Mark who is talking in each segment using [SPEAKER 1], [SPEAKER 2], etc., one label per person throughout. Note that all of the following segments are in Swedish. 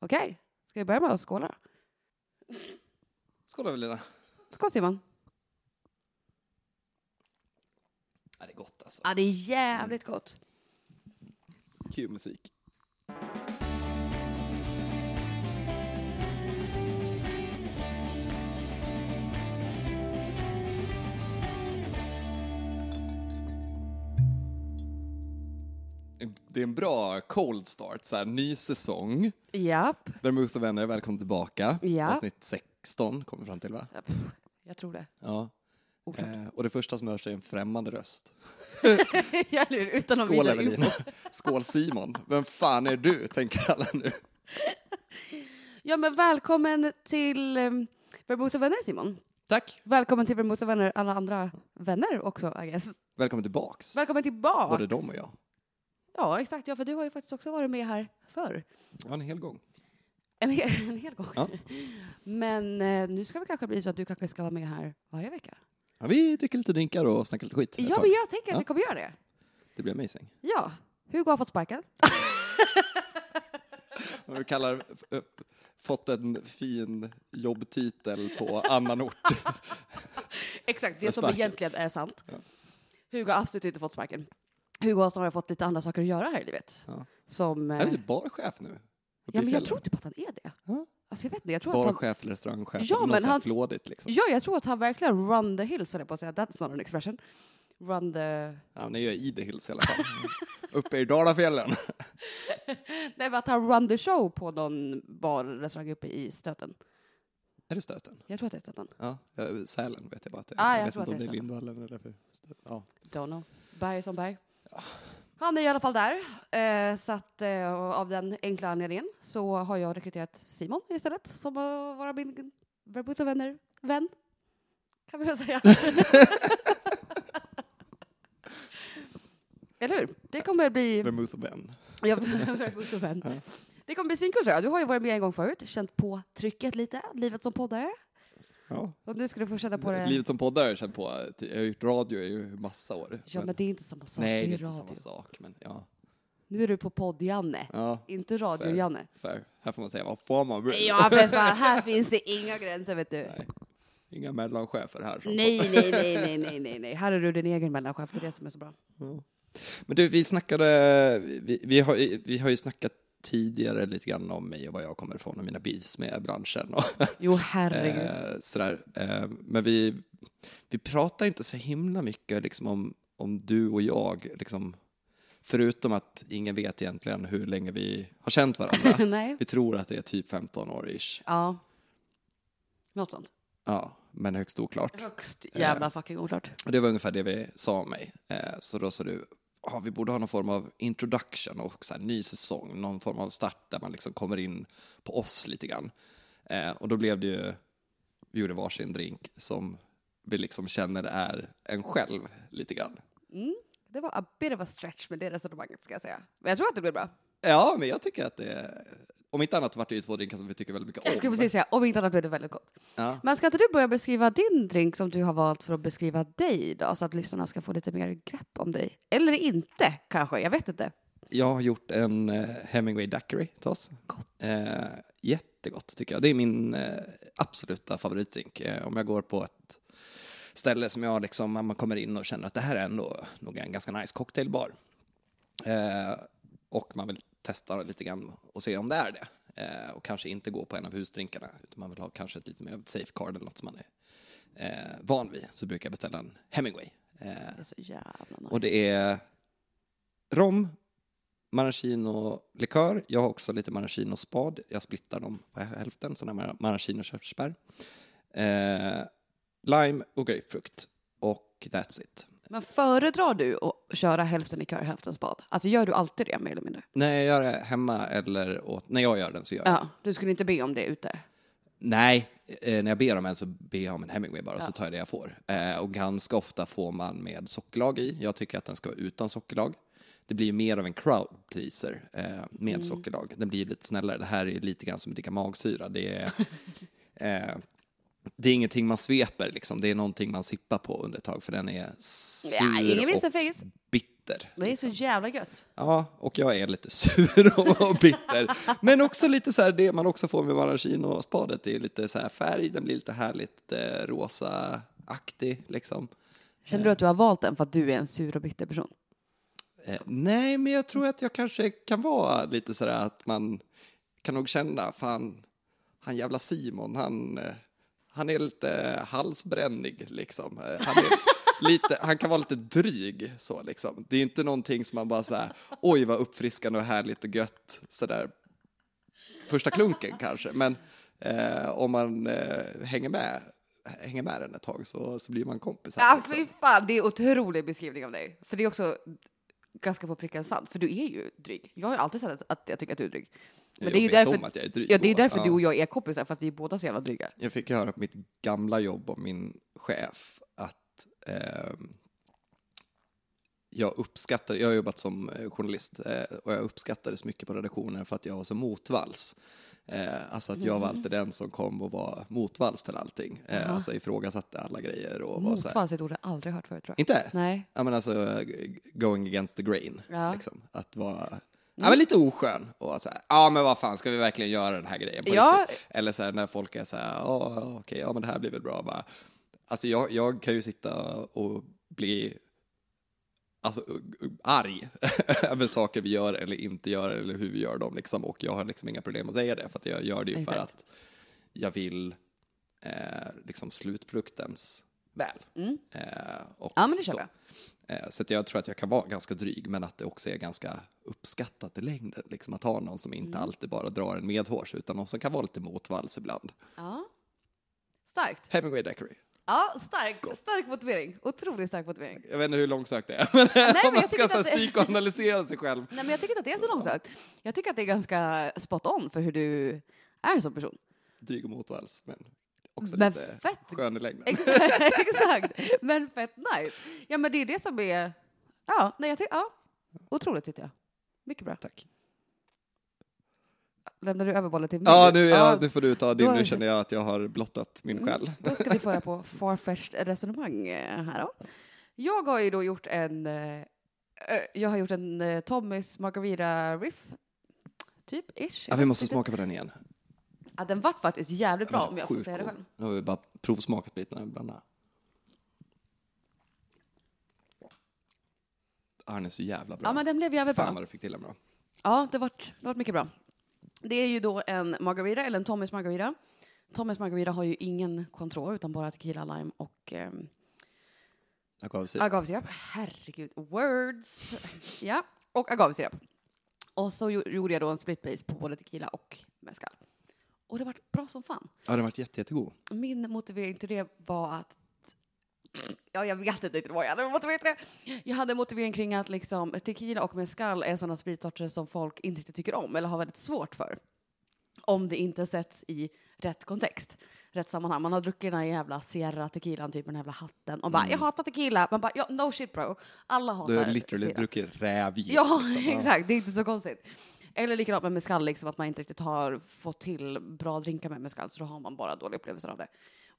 [SPEAKER 1] Okej, ska vi börja med att skåla då?
[SPEAKER 2] Skål Evelina.
[SPEAKER 1] Skål Simon.
[SPEAKER 2] Ja, det är gott alltså.
[SPEAKER 1] Ja, det är jävligt gott.
[SPEAKER 2] Ah, Kul musik. Det är en bra cold start, så här, ny säsong.
[SPEAKER 1] Japp.
[SPEAKER 2] Vermouth och vänner, välkommen tillbaka.
[SPEAKER 1] Ja.
[SPEAKER 2] Avsnitt 16 kom vi fram till va?
[SPEAKER 1] Ja, pff, Jag tror det.
[SPEAKER 2] Ja. Eh, och det första som hörs är en främmande röst.
[SPEAKER 1] Jag lurar, utan någon
[SPEAKER 2] Skål
[SPEAKER 1] vidare info.
[SPEAKER 2] Evelina! Skål Simon! Vem fan är du, tänker alla nu.
[SPEAKER 1] Ja, men välkommen till um, Vermouth och vänner Simon.
[SPEAKER 2] Tack!
[SPEAKER 1] Välkommen till Vermouth och vänner alla andra vänner också, I guess.
[SPEAKER 2] Välkommen tillbaks,
[SPEAKER 1] Välkommen tillbaka.
[SPEAKER 2] både de och jag.
[SPEAKER 1] Ja, exakt. Ja, för du har ju faktiskt också varit med här förr.
[SPEAKER 2] Ja, en hel gång.
[SPEAKER 1] En hel, en hel gång.
[SPEAKER 2] Ja.
[SPEAKER 1] Men eh, nu ska det kanske bli så att du kanske ska vara med här varje vecka.
[SPEAKER 2] Ja, vi dricker lite drinkar och snackar lite skit ett
[SPEAKER 1] Ja,
[SPEAKER 2] tag.
[SPEAKER 1] men jag tänker att
[SPEAKER 2] Ja.
[SPEAKER 1] vi kommer göra det.
[SPEAKER 2] Det blir amazing.
[SPEAKER 1] Ja. Hugo har fått sparken.
[SPEAKER 2] Vi kallar, f- ö- fått en fin jobbtitel på annan ort.
[SPEAKER 1] Exakt,
[SPEAKER 2] För
[SPEAKER 1] det som
[SPEAKER 2] sparken.
[SPEAKER 1] egentligen är sant. Hugo har absolut inte fått sparken. Hugo har snarare fått lite andra saker att göra här i livet.
[SPEAKER 2] Ja.
[SPEAKER 1] Som... eh,
[SPEAKER 2] Är du barchef nu? Uppe
[SPEAKER 1] ja, men jag
[SPEAKER 2] i fjällen?
[SPEAKER 1] tror typ att han är det.
[SPEAKER 2] Ja.
[SPEAKER 1] Alltså, jag vet inte, jag tror att han...
[SPEAKER 2] Barchef eller restaurangchef?
[SPEAKER 1] Ja,
[SPEAKER 2] Ja, men
[SPEAKER 1] men han-
[SPEAKER 2] flådigt liksom.
[SPEAKER 1] Ja, jag tror att han verkligen run the hills, höll jag på att säga. That's not an expression. Run the...
[SPEAKER 2] Ja, men jag gör i det hills i alla fall. Uppe i Dalafjällen.
[SPEAKER 1] Nej, men att han run the show på någon bar, restaurang uppe i Stöten.
[SPEAKER 2] Är det Stöten?
[SPEAKER 1] Jag tror att det är Stöten.
[SPEAKER 2] Ja, ja, Sälen vet jag bara att det är.
[SPEAKER 1] Ah, jag
[SPEAKER 2] vet
[SPEAKER 1] tror
[SPEAKER 2] inte
[SPEAKER 1] att det
[SPEAKER 2] om
[SPEAKER 1] är
[SPEAKER 2] det är Lindvallen eller för Stöten. Ja.
[SPEAKER 1] Don't know. Berg som berg. Han är i alla fall där. Eh, så att, eh, och av den enkla anledningen så har jag rekryterat Simon istället som att vara min Vermouth och vänner-vän. Kan vi väl säga. Eller hur? Det kommer bli...
[SPEAKER 2] Vermouth och Ben.
[SPEAKER 1] Ja, Vermouth och vän. Det kommer bli svinkul tror jag. Du har ju varit med en gång förut, känt på trycket lite, livet som poddare.
[SPEAKER 2] Ja.
[SPEAKER 1] Och nu ska du få känna på det.
[SPEAKER 2] Livet som poddare har jag känt på. eh, Jag har gjort radio i ju massa år.
[SPEAKER 1] Ja, men det är inte samma sak.
[SPEAKER 2] Nej,
[SPEAKER 1] det är
[SPEAKER 2] inte
[SPEAKER 1] radio.
[SPEAKER 2] samma sak. Men ja,
[SPEAKER 1] Nu är du på podd-Janne,
[SPEAKER 2] ja
[SPEAKER 1] inte radio-Janne.
[SPEAKER 2] fair. Här får man säga vad får man vill.
[SPEAKER 1] Ja, för fan, här finns det inga gränser, vet du.
[SPEAKER 2] Nej. Inga mellanchefer här. Som
[SPEAKER 1] Nej, nej, nej, nej, nej, nej, nej. Här är du din egen mellanchef, det är det som är så bra.
[SPEAKER 2] Men du, vi snackade, vi, vi, har, vi har ju snackat tidigare lite grann om mig och var jag kommer ifrån och mina beefs med branschen och
[SPEAKER 1] Jo, herregud.
[SPEAKER 2] eh, sådär. Eh, men vi, vi pratar inte så himla mycket liksom om, om du och jag, liksom, förutom att ingen vet egentligen hur länge vi har känt varandra.
[SPEAKER 1] nej.
[SPEAKER 2] vi tror att det är typ 15 år ish.
[SPEAKER 1] Ja. Något sånt. Eh.
[SPEAKER 2] Ja, men högst oklart.
[SPEAKER 1] Högst jävla fucking oklart.
[SPEAKER 2] Och det var ungefär det vi sa om mig. Eh, så då sa du, ah, vi borde ha någon form av introduction och så här, ny säsong, någon form av start där man liksom kommer in på oss lite grann. Eh, och då blev det ju, vi gjorde varsin drink som vi liksom känner är en själv lite grann.
[SPEAKER 1] Det var a bit of a stretch med det resonemanget, ska jag säga. Men jag tror att det blir bra.
[SPEAKER 2] Ja, men jag tycker att det, om inte annat vart det ju två drinkar som vi tycker väldigt mycket om.
[SPEAKER 1] Jag skulle precis säga, om inte annat blir det väldigt gott.
[SPEAKER 2] Ja.
[SPEAKER 1] Men ska inte du börja beskriva din drink som du har valt för att beskriva dig då? Så att lyssnarna ska få lite mer grepp om dig. Eller inte, kanske. Jag vet inte.
[SPEAKER 2] Jag har gjort en eh, Hemingway Daiquiri till oss. Eh, jättegott tycker jag. Det är min eh, absoluta favoritdrink. Eh, om jag går på ett ställe som jag liksom, man kommer in och känner att det här är ändå nog en ganska nice cocktailbar. Eh, och man vill testa lite grann och se om det är det. Eh, och kanske inte gå på en av husdrinkarna, utan man vill ha kanske ett lite mer av ett safecard eller något som man är eh, van vid. Så brukar jag beställa en Hemingway. Eh,
[SPEAKER 1] Det är så jävla nice.
[SPEAKER 2] och det är rom, maraschino-likör. Jag har också lite maraschino-spad. Jag splittar dem på hälften, sådana här maraschino-körsbär. Eh, lime och grapefrukt. Och that's it.
[SPEAKER 1] Men föredrar du att köra hälften likör, hälften spad? Alltså gör du alltid det mer eller mindre?
[SPEAKER 2] När jag gör det hemma eller åt, när jag gör den så gör jag
[SPEAKER 1] Ja, du skulle inte be om det ute?
[SPEAKER 2] Nej, eh, när jag ber om en så ber jag om en Hemingway bara, så tar jag det jag får. Eh, och ganska ofta får man med sockerlag i. Jag tycker att den ska vara utan sockerlag. Det blir ju mer av en crowd pleaser eh, med
[SPEAKER 1] Mm.
[SPEAKER 2] sockerlag. Den blir lite snällare. Det här är lite grann som att dricka magsyra. Det är, eh, det är ingenting man sveper, liksom. det är någonting man sippar på under ett tag, för den är sur
[SPEAKER 1] Ja, ingen vill se
[SPEAKER 2] och liksom.
[SPEAKER 1] fegis.
[SPEAKER 2] bitter.
[SPEAKER 1] Det är så jävla gött.
[SPEAKER 2] Ja, och jag är lite sur och bitter. Men också lite så här, det man också får med maraschino-spadet är ju lite så här färg, den blir lite härligt eh, rosa-aktig liksom.
[SPEAKER 1] Känner du att du har valt den för att du är en sur och bitter person?
[SPEAKER 2] Eh, nej, men jag tror att jag kanske kan vara lite så där att man kan nog känna, fan, han jävla Simon, han, eh, han är lite halsbrännig liksom. Eh, Han, är lite, han kan vara lite dryg så liksom. Det är inte någonting som man bara så här, oj vad uppfriskande och härligt och gött så där första klunken kanske, men eh, om man eh, hänger med hänger med den ett tag så, så blir man kompisar.
[SPEAKER 1] Ja,
[SPEAKER 2] liksom.
[SPEAKER 1] fy fan, det är otrolig beskrivning av dig. För det är också ganska på pricken sant, för du är ju dryg. Jag har ju alltid sagt att, att jag tycker att du är dryg. Men
[SPEAKER 2] Jag
[SPEAKER 1] det är ju
[SPEAKER 2] vet
[SPEAKER 1] därför,
[SPEAKER 2] om att jag är dryg
[SPEAKER 1] ja, det är
[SPEAKER 2] bara.
[SPEAKER 1] därför
[SPEAKER 2] Ja.
[SPEAKER 1] du och jag är kompisar, för att vi är båda så jävla dryga.
[SPEAKER 2] Jag fick höra på mitt gamla jobb av min chef att ehm, jag uppskattar, jag har jobbat som eh, journalist eh, och jag uppskattades mycket på redaktionen för att jag var så motvalls. Eh, alltså att jag var alltid den som kom och var motvalls till allting. Eh, alltså ifrågasatte alla grejer och var så här.
[SPEAKER 1] Motvalls är ett ord jag aldrig hört förut tror jag.
[SPEAKER 2] Inte?
[SPEAKER 1] Nej.
[SPEAKER 2] Ja men alltså eh, going against the grain.
[SPEAKER 1] Ja.
[SPEAKER 2] Liksom. Att vara ja, men lite oskön och vara så här, ja men vad fan ska vi verkligen göra den här grejen på
[SPEAKER 1] Ja.
[SPEAKER 2] riktigt? Eller så här när folk är så här, ja ja, okej, ja men det här blir väl bra bara. Alltså jag, jag kan ju sitta och bli alltså, u- u- arg över saker vi gör eller inte gör eller hur vi gör dem liksom. Och jag har liksom inga problem att säga det för att jag gör det ju för
[SPEAKER 1] Exakt.
[SPEAKER 2] att jag vill eh, liksom slutproduktens väl.
[SPEAKER 1] Mm.
[SPEAKER 2] Eh, och
[SPEAKER 1] Ja, men det
[SPEAKER 2] så.
[SPEAKER 1] köper jag.
[SPEAKER 2] Eh, så att jag tror att jag kan vara ganska dryg, men att det också är ganska uppskattat i längden. Liksom att ha någon som inte
[SPEAKER 1] Mm.
[SPEAKER 2] alltid bara drar en medhårs, utan någon som kan vara lite motvalls ibland.
[SPEAKER 1] Ja. Starkt.
[SPEAKER 2] Hemingway Daiquiri.
[SPEAKER 1] Ja, stark, stark motivering. Otroligt stark motivering.
[SPEAKER 2] Jag vet inte hur långsökt det är, men
[SPEAKER 1] men
[SPEAKER 2] om man
[SPEAKER 1] jag
[SPEAKER 2] ska
[SPEAKER 1] tycker
[SPEAKER 2] så här,
[SPEAKER 1] att det-
[SPEAKER 2] psykoanalysera sig själv.
[SPEAKER 1] Nej, men jag tycker inte att det är så långsökt. Jag tycker att det är ganska spot on för hur du är som person.
[SPEAKER 2] Dryg och motvalls, men också
[SPEAKER 1] Men
[SPEAKER 2] lite
[SPEAKER 1] fett.
[SPEAKER 2] skön i längden.
[SPEAKER 1] Exakt, exakt. Men fett nice. Ja, men det är det som är... Ja, nej, jag tycker... Ja. Otroligt tyckte jag. Mycket bra.
[SPEAKER 2] Tack.
[SPEAKER 1] Lämnar du över bollen till mig?
[SPEAKER 2] Ja, nu, är jag, nu får du ta din.
[SPEAKER 1] Då- Mm.
[SPEAKER 2] Nu känner jag att jag har blottat min själ.
[SPEAKER 1] Då ska vi föra på farfetched resonemang eh, här då. Jag har ju då gjort en... eh, eh, Jag har gjort en eh, Tommys Margarita Riff. Typ, ish.
[SPEAKER 2] Ja, vi måste smaka på den igen.
[SPEAKER 1] Ja, den vart faktiskt jävligt bra om jag får
[SPEAKER 2] Sjukt
[SPEAKER 1] säga det
[SPEAKER 2] god.
[SPEAKER 1] själv.
[SPEAKER 2] Nu har vi bara provsmakat lite när vi blandade. Ah, den är så jävla bra.
[SPEAKER 1] Ja, men den blev jävligt bra.
[SPEAKER 2] Fan vad du fick till den bra.
[SPEAKER 1] Ja, det vart, det vart mycket bra. Det är ju då en margarita, eller en Tommys margarita. Tommys margarita har ju ingen kontroll utan bara tequila, lime och ehm,
[SPEAKER 2] Agavsirap.
[SPEAKER 1] agavsirap. Herregud, words! ja, och agavsirap. Och så gjo- gjorde jag då en split base på både tequila och mezcal. Och det vart bra som fan.
[SPEAKER 2] Ja, den har varit jätte, jättegod.
[SPEAKER 1] Min motivering till det var att Ja, jag vet inte riktigt vad jag hade motivering till det. Jag hade motivering kring att liksom, tequila och mezcal är sådana spritsorter som folk inte riktigt tycker om eller har väldigt svårt för. Om det inte sätts i rätt kontext, rätt sammanhang. Man har druckit den här jävla Sierra tequilan, typ den här jävla hatten och bara jag hatar tequila. Man bara ja, no shit bro, alla hatar
[SPEAKER 2] Mm. Du har literally
[SPEAKER 1] Sierra.
[SPEAKER 2] druckit rävgift.
[SPEAKER 1] Ja,
[SPEAKER 2] liksom.
[SPEAKER 1] exakt. Det är inte så konstigt. Eller likadant med mezcal, liksom, att man inte riktigt har fått till bra drinkar med mezcal, så då har man bara dåliga upplevelser av det.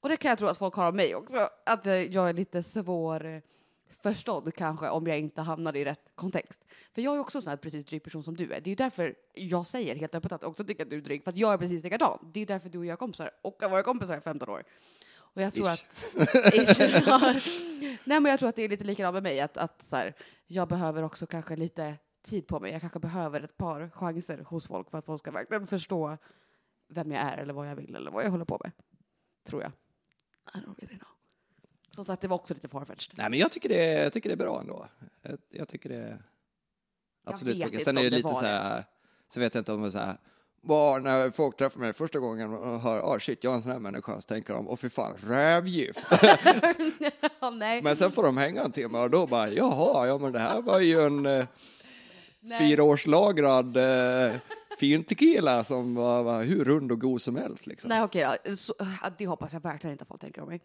[SPEAKER 1] Och det kan jag tro att folk har av mig också, att eh, jag är lite svår eh, förstådd kanske om jag inte hamnar i rätt kontext. För jag är också en sån här precis dryg person som du är. Det är ju därför jag säger helt öppet att jag också tycker att du är dryg, för att jag är precis likadan. Det är ju därför du och jag är kompisar och har varit kompisar i 15 år. Och jag tror
[SPEAKER 2] Ish.
[SPEAKER 1] att... Ish. Nej, men jag tror att det är lite likadant med mig, att, att så här, jag behöver också kanske lite tid på mig. Jag kanske behöver ett par chanser hos folk för att folk ska verkligen förstå vem jag är eller vad jag vill eller vad jag håller på med. Tror jag. I don't really know. Som sagt, det var också lite farfetched.
[SPEAKER 2] Nej, men jag tycker, det, jag tycker det är bra ändå. Jag, jag tycker det... Absolut.
[SPEAKER 1] vet
[SPEAKER 2] funkar.
[SPEAKER 1] inte
[SPEAKER 2] Sen är
[SPEAKER 1] om
[SPEAKER 2] det
[SPEAKER 1] det
[SPEAKER 2] lite
[SPEAKER 1] var
[SPEAKER 2] så här... Så vet jag inte om det är så här... Bara när folk träffar mig första gången och hör ah shit, jag är en sån här människa, så tänker de åh fy fan, rävgift.
[SPEAKER 1] Ja, nej.
[SPEAKER 2] Men sen får de hänga en timme och då bara, jaha, ja men det här var ju en eh,
[SPEAKER 1] Nej.
[SPEAKER 2] fyraårslagrad eh, fin tequila som var, var hur rund och god som helst liksom.
[SPEAKER 1] Nej, okej då. Så, äh, det hoppas jag verkligen inte att folk tänker om mig.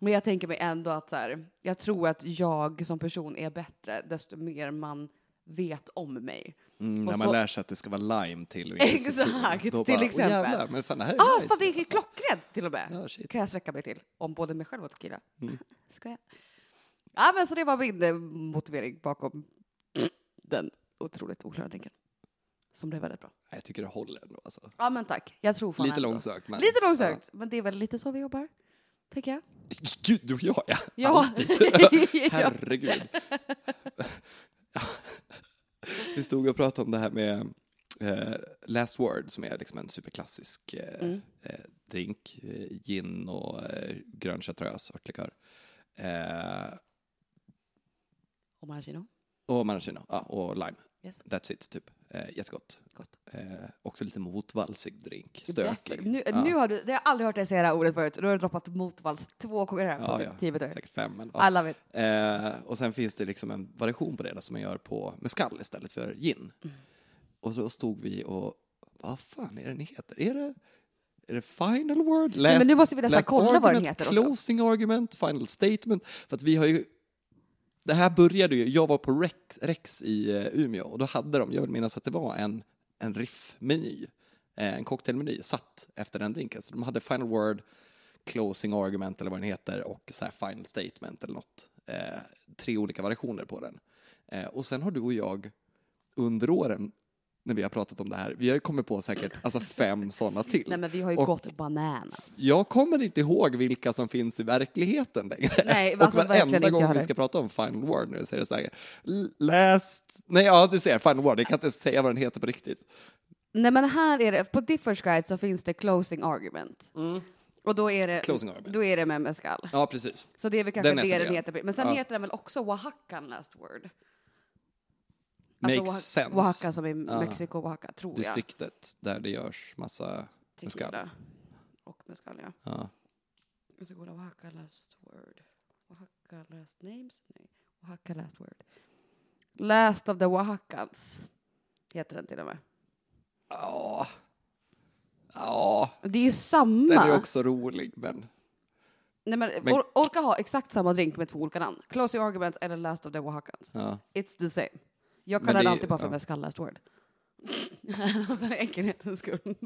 [SPEAKER 1] Men jag tänker mig ändå att så här, jag tror att jag som person är bättre desto mer man vet om mig.
[SPEAKER 2] Mm, när
[SPEAKER 1] Och
[SPEAKER 2] man
[SPEAKER 1] så-
[SPEAKER 2] lär sig att det ska vara lime till och
[SPEAKER 1] Exakt,
[SPEAKER 2] citron, då
[SPEAKER 1] till
[SPEAKER 2] bara, "Åh,
[SPEAKER 1] exempel."
[SPEAKER 2] jävlar, men fan det här är
[SPEAKER 1] Ja, ah,
[SPEAKER 2] nice.
[SPEAKER 1] fan, det är klockrent till och med.
[SPEAKER 2] Ja, shit. Mm.
[SPEAKER 1] kan jag sträcka mig till. Om både mig själv och tequila. Ska jag? Ja, men så det var min eh, motivering bakom den otroligt oklara drinken. Som blev väldigt bra.
[SPEAKER 2] Jag tycker det håller ändå. Alltså.
[SPEAKER 1] Ja men tack, jag tror fan
[SPEAKER 2] Lite
[SPEAKER 1] ändå.
[SPEAKER 2] långsökt. Men...
[SPEAKER 1] Lite långsökt, men det är väl lite så vi jobbar, tänker jag.
[SPEAKER 2] Ja. Gud, du och jag ja.
[SPEAKER 1] Ja.
[SPEAKER 2] Alltid.
[SPEAKER 1] Ja.
[SPEAKER 2] Herregud. Vi stod och pratade om det här med eh, Last Word som är liksom en superklassisk eh,
[SPEAKER 1] Mm.
[SPEAKER 2] eh, drink. eh, Gin och eh, grön chartreuse, örtlikör. Eh,
[SPEAKER 1] Och maraschino.
[SPEAKER 2] och maraschino, ja, och lime.
[SPEAKER 1] Yes.
[SPEAKER 2] That's it, typ. Eh, jättegott.
[SPEAKER 1] Gott.
[SPEAKER 2] Eh, också lite motvalsig drink.
[SPEAKER 1] Det är därför-
[SPEAKER 2] Stökig.
[SPEAKER 1] Nu,
[SPEAKER 2] Ja.
[SPEAKER 1] nu har du, det har jag aldrig hört dig säga det här ordet förut. Du har droppat motvalls två gånger här på
[SPEAKER 2] Ja,
[SPEAKER 1] typ
[SPEAKER 2] ja.
[SPEAKER 1] tio minuter.
[SPEAKER 2] Säkert fem. Men, ja.
[SPEAKER 1] I love it.
[SPEAKER 2] Eh, och sen finns det liksom en variation på det där som man gör på mezcal istället för gin. Och så stod vi och, vad fan är den heter? Är det, är det final word? Last,
[SPEAKER 1] men nu måste vi nästan
[SPEAKER 2] last
[SPEAKER 1] kolla vad den
[SPEAKER 2] argument,
[SPEAKER 1] heter också.
[SPEAKER 2] Closing argument, final statement. För att vi har ju, det här började ju, jag var på Rex, Rex i eh, Umeå och då hade de, jag vill minnas att det var en, en riffmeny, eh, en cocktailmeny satt efter den drinken. Så de hade final word, closing argument eller vad den heter och så här final statement eller något. Eh, tre olika variationer på den. Eh, och sen har du och jag under åren när vi har pratat om det här, vi har ju kommit på säkert alltså fem sådana till.
[SPEAKER 1] Nej men vi har ju
[SPEAKER 2] Och-
[SPEAKER 1] gått bananas.
[SPEAKER 2] Jag kommer inte ihåg vilka som finns i verkligheten längre.
[SPEAKER 1] Nej,
[SPEAKER 2] och
[SPEAKER 1] alltså verkligen
[SPEAKER 2] varenda
[SPEAKER 1] inte jag
[SPEAKER 2] gång vi
[SPEAKER 1] heller.
[SPEAKER 2] ska prata om Final Word nu så är det så här, l- last... Nej, ja du ser, Final Word, jag kan inte ens säga vad den heter på riktigt.
[SPEAKER 1] Nej men här är det, på Differs guide så finns det closing argument. Och då är det,
[SPEAKER 2] Mm. Closing argument.
[SPEAKER 1] Då är det med mezcal.
[SPEAKER 2] Ja, precis.
[SPEAKER 1] Så det är väl kanske
[SPEAKER 2] Den
[SPEAKER 1] det
[SPEAKER 2] heter
[SPEAKER 1] den
[SPEAKER 2] det.
[SPEAKER 1] heter. Men sen
[SPEAKER 2] Ja.
[SPEAKER 1] heter den väl också Oaxacan last word?
[SPEAKER 2] Makes
[SPEAKER 1] Oaxa-
[SPEAKER 2] sense.
[SPEAKER 1] Oaxaca som i Mexiko, Oaxaca, tror jag.
[SPEAKER 2] Distriktet där det görs massa...
[SPEAKER 1] Tequila.
[SPEAKER 2] mezcal.
[SPEAKER 1] Och mezcal, ja.
[SPEAKER 2] Ja.
[SPEAKER 1] Jag ska kolla Oaxaca last word. Oaxaca last names? Nej. Oaxaca last word. Last of the Oaxacans heter den till och med.
[SPEAKER 2] Ja. Ja,
[SPEAKER 1] Det är ju
[SPEAKER 2] den
[SPEAKER 1] samma.
[SPEAKER 2] är också rolig, men...
[SPEAKER 1] Nej, men,
[SPEAKER 2] Men-
[SPEAKER 1] Or- orka ha exakt samma drink med två olika namn. Closing Arguments eller Last of the Oaxacans.
[SPEAKER 2] Ja.
[SPEAKER 1] It's the same. Jag
[SPEAKER 2] Men
[SPEAKER 1] kallar
[SPEAKER 2] det
[SPEAKER 1] det
[SPEAKER 2] är-
[SPEAKER 1] alltid bara för
[SPEAKER 2] ja.
[SPEAKER 1] mezcal last word. för enkelhetens skull. Men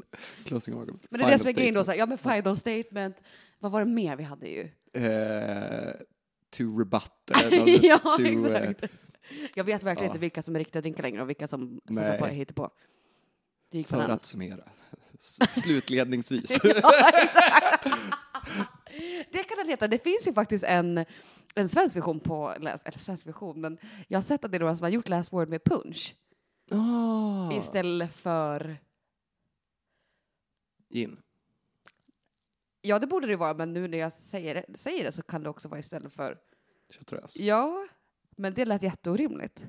[SPEAKER 2] Closing argument.
[SPEAKER 1] det är det som är grejen då, så här, ja men final statement. Vad var det mer vi hade ju?
[SPEAKER 2] Eh, to rebut. eller något,
[SPEAKER 1] ja,
[SPEAKER 2] to, eh,
[SPEAKER 1] exakt. Jag vet verkligen
[SPEAKER 2] ja.
[SPEAKER 1] inte vilka som är riktiga drinkar längre och vilka som, som
[SPEAKER 2] Nej.
[SPEAKER 1] så bara hittar på. Det gick
[SPEAKER 2] eh, För
[SPEAKER 1] bananas.
[SPEAKER 2] att summera. S- Slutledningsvis.
[SPEAKER 1] Det kan jag leta. Det finns ju faktiskt en, en svensk version på, eller svensk version, men jag har sett att det är några som har gjort Last Word med punch
[SPEAKER 2] Ah,
[SPEAKER 1] istället för
[SPEAKER 2] in.
[SPEAKER 1] Ja, det borde det vara, men nu när jag säger det, säger det så kan det också vara istället för...
[SPEAKER 2] Chartreuse.
[SPEAKER 1] Ja, men det lät jätteorimligt.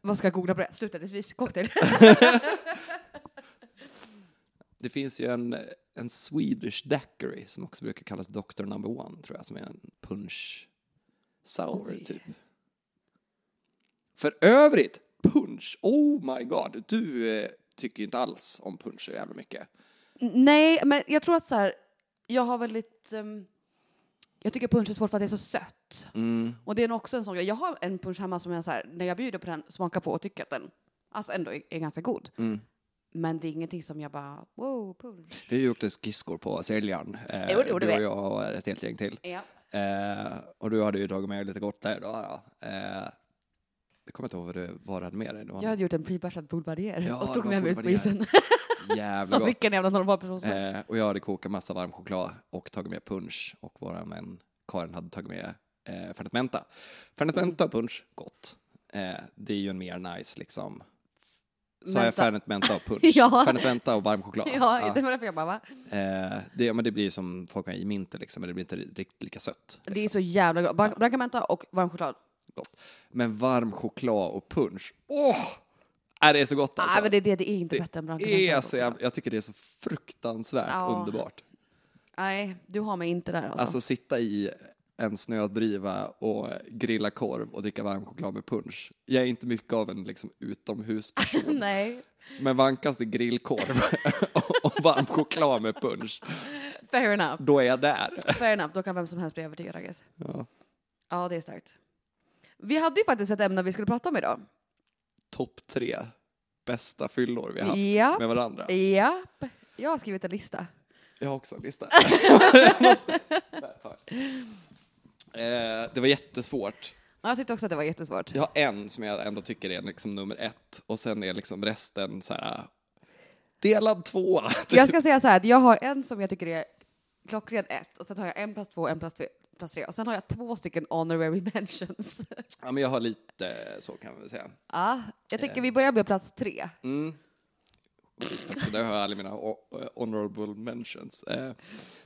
[SPEAKER 1] Vad ska jag googla på det? Slutledningsvis cocktail.
[SPEAKER 2] Det finns ju en, en Swedish daiquiri som också brukar kallas Doctor Number One, tror jag, som är en punch sour,
[SPEAKER 1] Oj.
[SPEAKER 2] typ. För övrigt, punch! Oh my god! Du eh, tycker ju inte alls om punch så jävla mycket.
[SPEAKER 1] Nej, men jag tror att så här, jag har väldigt... ehm, jag tycker punsch är svårt för att det är så sött.
[SPEAKER 2] Mm.
[SPEAKER 1] Och det är nog också en sån grej. Jag har en punsch hemma som jag så här, när jag bjuder på den, smakar på och tycker att den alltså ändå är, är ganska god. Men det är ingenting som jag bara, wow, punsch.
[SPEAKER 2] Vi har gjort en skisskor på säljaren, eh,
[SPEAKER 1] Jo, det gjorde
[SPEAKER 2] du och
[SPEAKER 1] vi.
[SPEAKER 2] jag och ett helt gäng till.
[SPEAKER 1] Ja.
[SPEAKER 2] Eh, och du hade ju tagit med dig lite gott där då. Ja. Eh, jag kommer inte ihåg vad du, vad du hade med dig. Det var
[SPEAKER 1] Jag hade gjort en pre-bärsad boulevardier
[SPEAKER 2] Ja,
[SPEAKER 1] och
[SPEAKER 2] det
[SPEAKER 1] tog
[SPEAKER 2] var
[SPEAKER 1] med mig ut på
[SPEAKER 2] boulevardier.
[SPEAKER 1] isen.
[SPEAKER 2] så jävla
[SPEAKER 1] Som
[SPEAKER 2] gott.
[SPEAKER 1] vilken jävla normal person som helst.
[SPEAKER 2] Eh, och jag hade kokat massa varm choklad och tagit med punsch och våran vän Karin hade tagit med eh, Fernet Menta. Fernet Menta och punsch, gott. Eh, det är ju en mer nice liksom. Så har jag
[SPEAKER 1] Menta.
[SPEAKER 2] Fernet Menta och punsch.
[SPEAKER 1] Ja.
[SPEAKER 2] Fernet Menta och varm choklad.
[SPEAKER 1] Ja,
[SPEAKER 2] Ja.
[SPEAKER 1] det var därför jag bara, va?
[SPEAKER 2] Eh, det, ja, men det blir ju som folk har i minter liksom, men det blir inte riktigt lika sött. liksom.
[SPEAKER 1] Det är så jävla gott. Blanc- Blanca Menta och varm choklad.
[SPEAKER 2] Gott. Men varm choklad och punsch, åh! Äh, det är så gott alltså.
[SPEAKER 1] Nej, men det är det, det är inte bättre än Blanca Menta.
[SPEAKER 2] är
[SPEAKER 1] och
[SPEAKER 2] så
[SPEAKER 1] varm
[SPEAKER 2] jag,
[SPEAKER 1] choklad.
[SPEAKER 2] jag tycker det är så fruktansvärt
[SPEAKER 1] Ja.
[SPEAKER 2] underbart.
[SPEAKER 1] Nej, du har mig inte där alltså.
[SPEAKER 2] Alltså sitta i en snödriva och grilla korv och dricka varm choklad med punsch. Jag är inte mycket av en liksom, utomhusperson,
[SPEAKER 1] Nej,
[SPEAKER 2] men vankas det grillkorv och varm choklad med punsch,
[SPEAKER 1] fair enough.
[SPEAKER 2] då är jag där.
[SPEAKER 1] Fair enough, då kan vem som helst bli övertygad, I guess.
[SPEAKER 2] Ja.
[SPEAKER 1] Ja, det är starkt. Vi hade ju faktiskt ett ämne vi skulle prata om idag.
[SPEAKER 2] Topp tre bästa fyllor vi har haft
[SPEAKER 1] Ja.
[SPEAKER 2] med varandra.
[SPEAKER 1] Japp, jag har skrivit en lista.
[SPEAKER 2] Jag har också en lista. Jag måste- Där har jag. Eh, det var jättesvårt.
[SPEAKER 1] Ja, jag tyckte också att det var jättesvårt.
[SPEAKER 2] Jag har en som jag ändå tycker är liksom nummer ett och sen är liksom resten så här delad tvåa. typ.
[SPEAKER 1] Jag ska säga så här, att jag har en som jag tycker är klockren ett och sen har jag en plus två, en plus tre, plus tre och sen har jag två stycken honorary mentions.
[SPEAKER 2] Ja, men jag har lite eh, så kan man väl säga.
[SPEAKER 1] Ja, jag tänker vi börjar med plats tre.
[SPEAKER 2] Så där har jag alla mina o- eh, honorable mentions. Eh,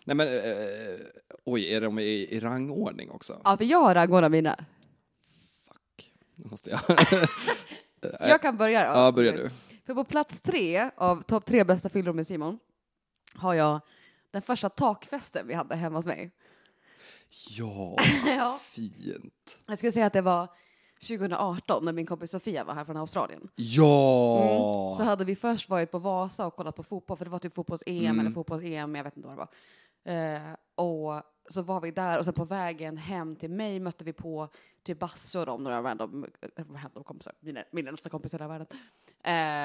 [SPEAKER 2] nej men, eh, oj, är de i, i rangordning också?
[SPEAKER 1] Ja, för jag har rangordnat mina.
[SPEAKER 2] Fuck, nu måste jag.
[SPEAKER 1] Jag kan börja då.
[SPEAKER 2] ja, börjar du.
[SPEAKER 1] För på plats tre av topp tre bästa fyllor med Simon har jag den första takfesten vi hade hemma hos mig.
[SPEAKER 2] Ja,
[SPEAKER 1] Ja.
[SPEAKER 2] fint.
[SPEAKER 1] Jag skulle säga att det var 2018 när min kompis Sofia var här från Australien.
[SPEAKER 2] Ja!
[SPEAKER 1] Mm. Så hade vi först varit på Vasa och kollat på fotboll, för det var typ fotbolls-EM
[SPEAKER 2] Mm.
[SPEAKER 1] eller fotbolls-EM, jag vet inte vad det var. Eh, och så var vi där och sen på vägen hem till mig mötte vi på typ Basse och de, några random, eh, random kompisar, mina, mina äldsta kompisar i hela världen.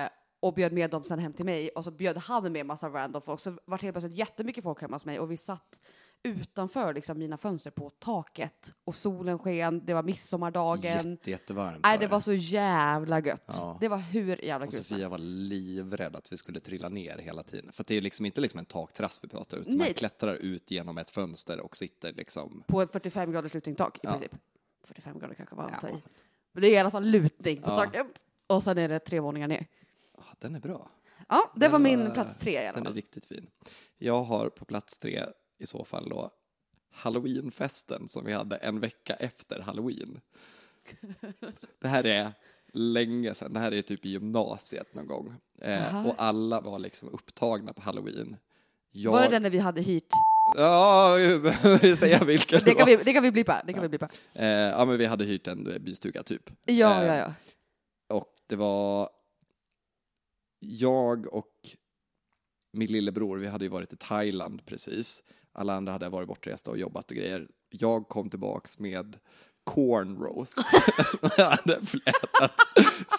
[SPEAKER 1] Eh, och bjöd med dem sen hem till mig och så bjöd han med massa random folk. Så var det helt plötsligt jättemycket folk hemma hos mig och vi satt utanför liksom, mina fönster på taket och solen sken, det var midsommardagen.
[SPEAKER 2] Jätte, jättevarmt.
[SPEAKER 1] Nej, det var så jävla gött.
[SPEAKER 2] Ja.
[SPEAKER 1] Det var hur jävla kul
[SPEAKER 2] Och
[SPEAKER 1] som helst.
[SPEAKER 2] Sofia var livrädd att vi skulle trilla ner hela tiden. För att det är liksom inte liksom en takterrass vi pratar utan
[SPEAKER 1] Nej.
[SPEAKER 2] man klättrar ut genom ett fönster och sitter liksom...
[SPEAKER 1] på ett 45 graders lutningtak i
[SPEAKER 2] Ja.
[SPEAKER 1] princip. 45 grader kanske var att ta
[SPEAKER 2] Ja.
[SPEAKER 1] i. Men det är i alla fall lutning på
[SPEAKER 2] Ja.
[SPEAKER 1] taket. Och sen är det tre våningar ner.
[SPEAKER 2] Ah, den är bra.
[SPEAKER 1] Ja, det
[SPEAKER 2] Den
[SPEAKER 1] var min
[SPEAKER 2] var-
[SPEAKER 1] plats tre i alla
[SPEAKER 2] Den är
[SPEAKER 1] fall.
[SPEAKER 2] riktigt fin. Jag har på plats tre i så fall då halloweenfesten som vi hade en vecka efter halloween. Det här är länge sedan, det här är typ i gymnasiet någon gång.
[SPEAKER 1] Jaha.
[SPEAKER 2] Eh, och alla var liksom upptagna på halloween. Jag...
[SPEAKER 1] Var det den när vi hade hyrt?
[SPEAKER 2] Ja, jag behöver säga vilken
[SPEAKER 1] Det kan
[SPEAKER 2] var.
[SPEAKER 1] vi, det kan vi blippa. Det kan vi blippa.
[SPEAKER 2] Eh, ja, men vi hade hyrt en bystuga typ.
[SPEAKER 1] Ja,
[SPEAKER 2] Eh,
[SPEAKER 1] ja, ja.
[SPEAKER 2] Och det var jag och min lillebror, vi hade ju varit i Thailand precis. Alla andra hade varit bortresta och jobbat och grejer. Jag kom tillbaks med cornrows. jag hade flätat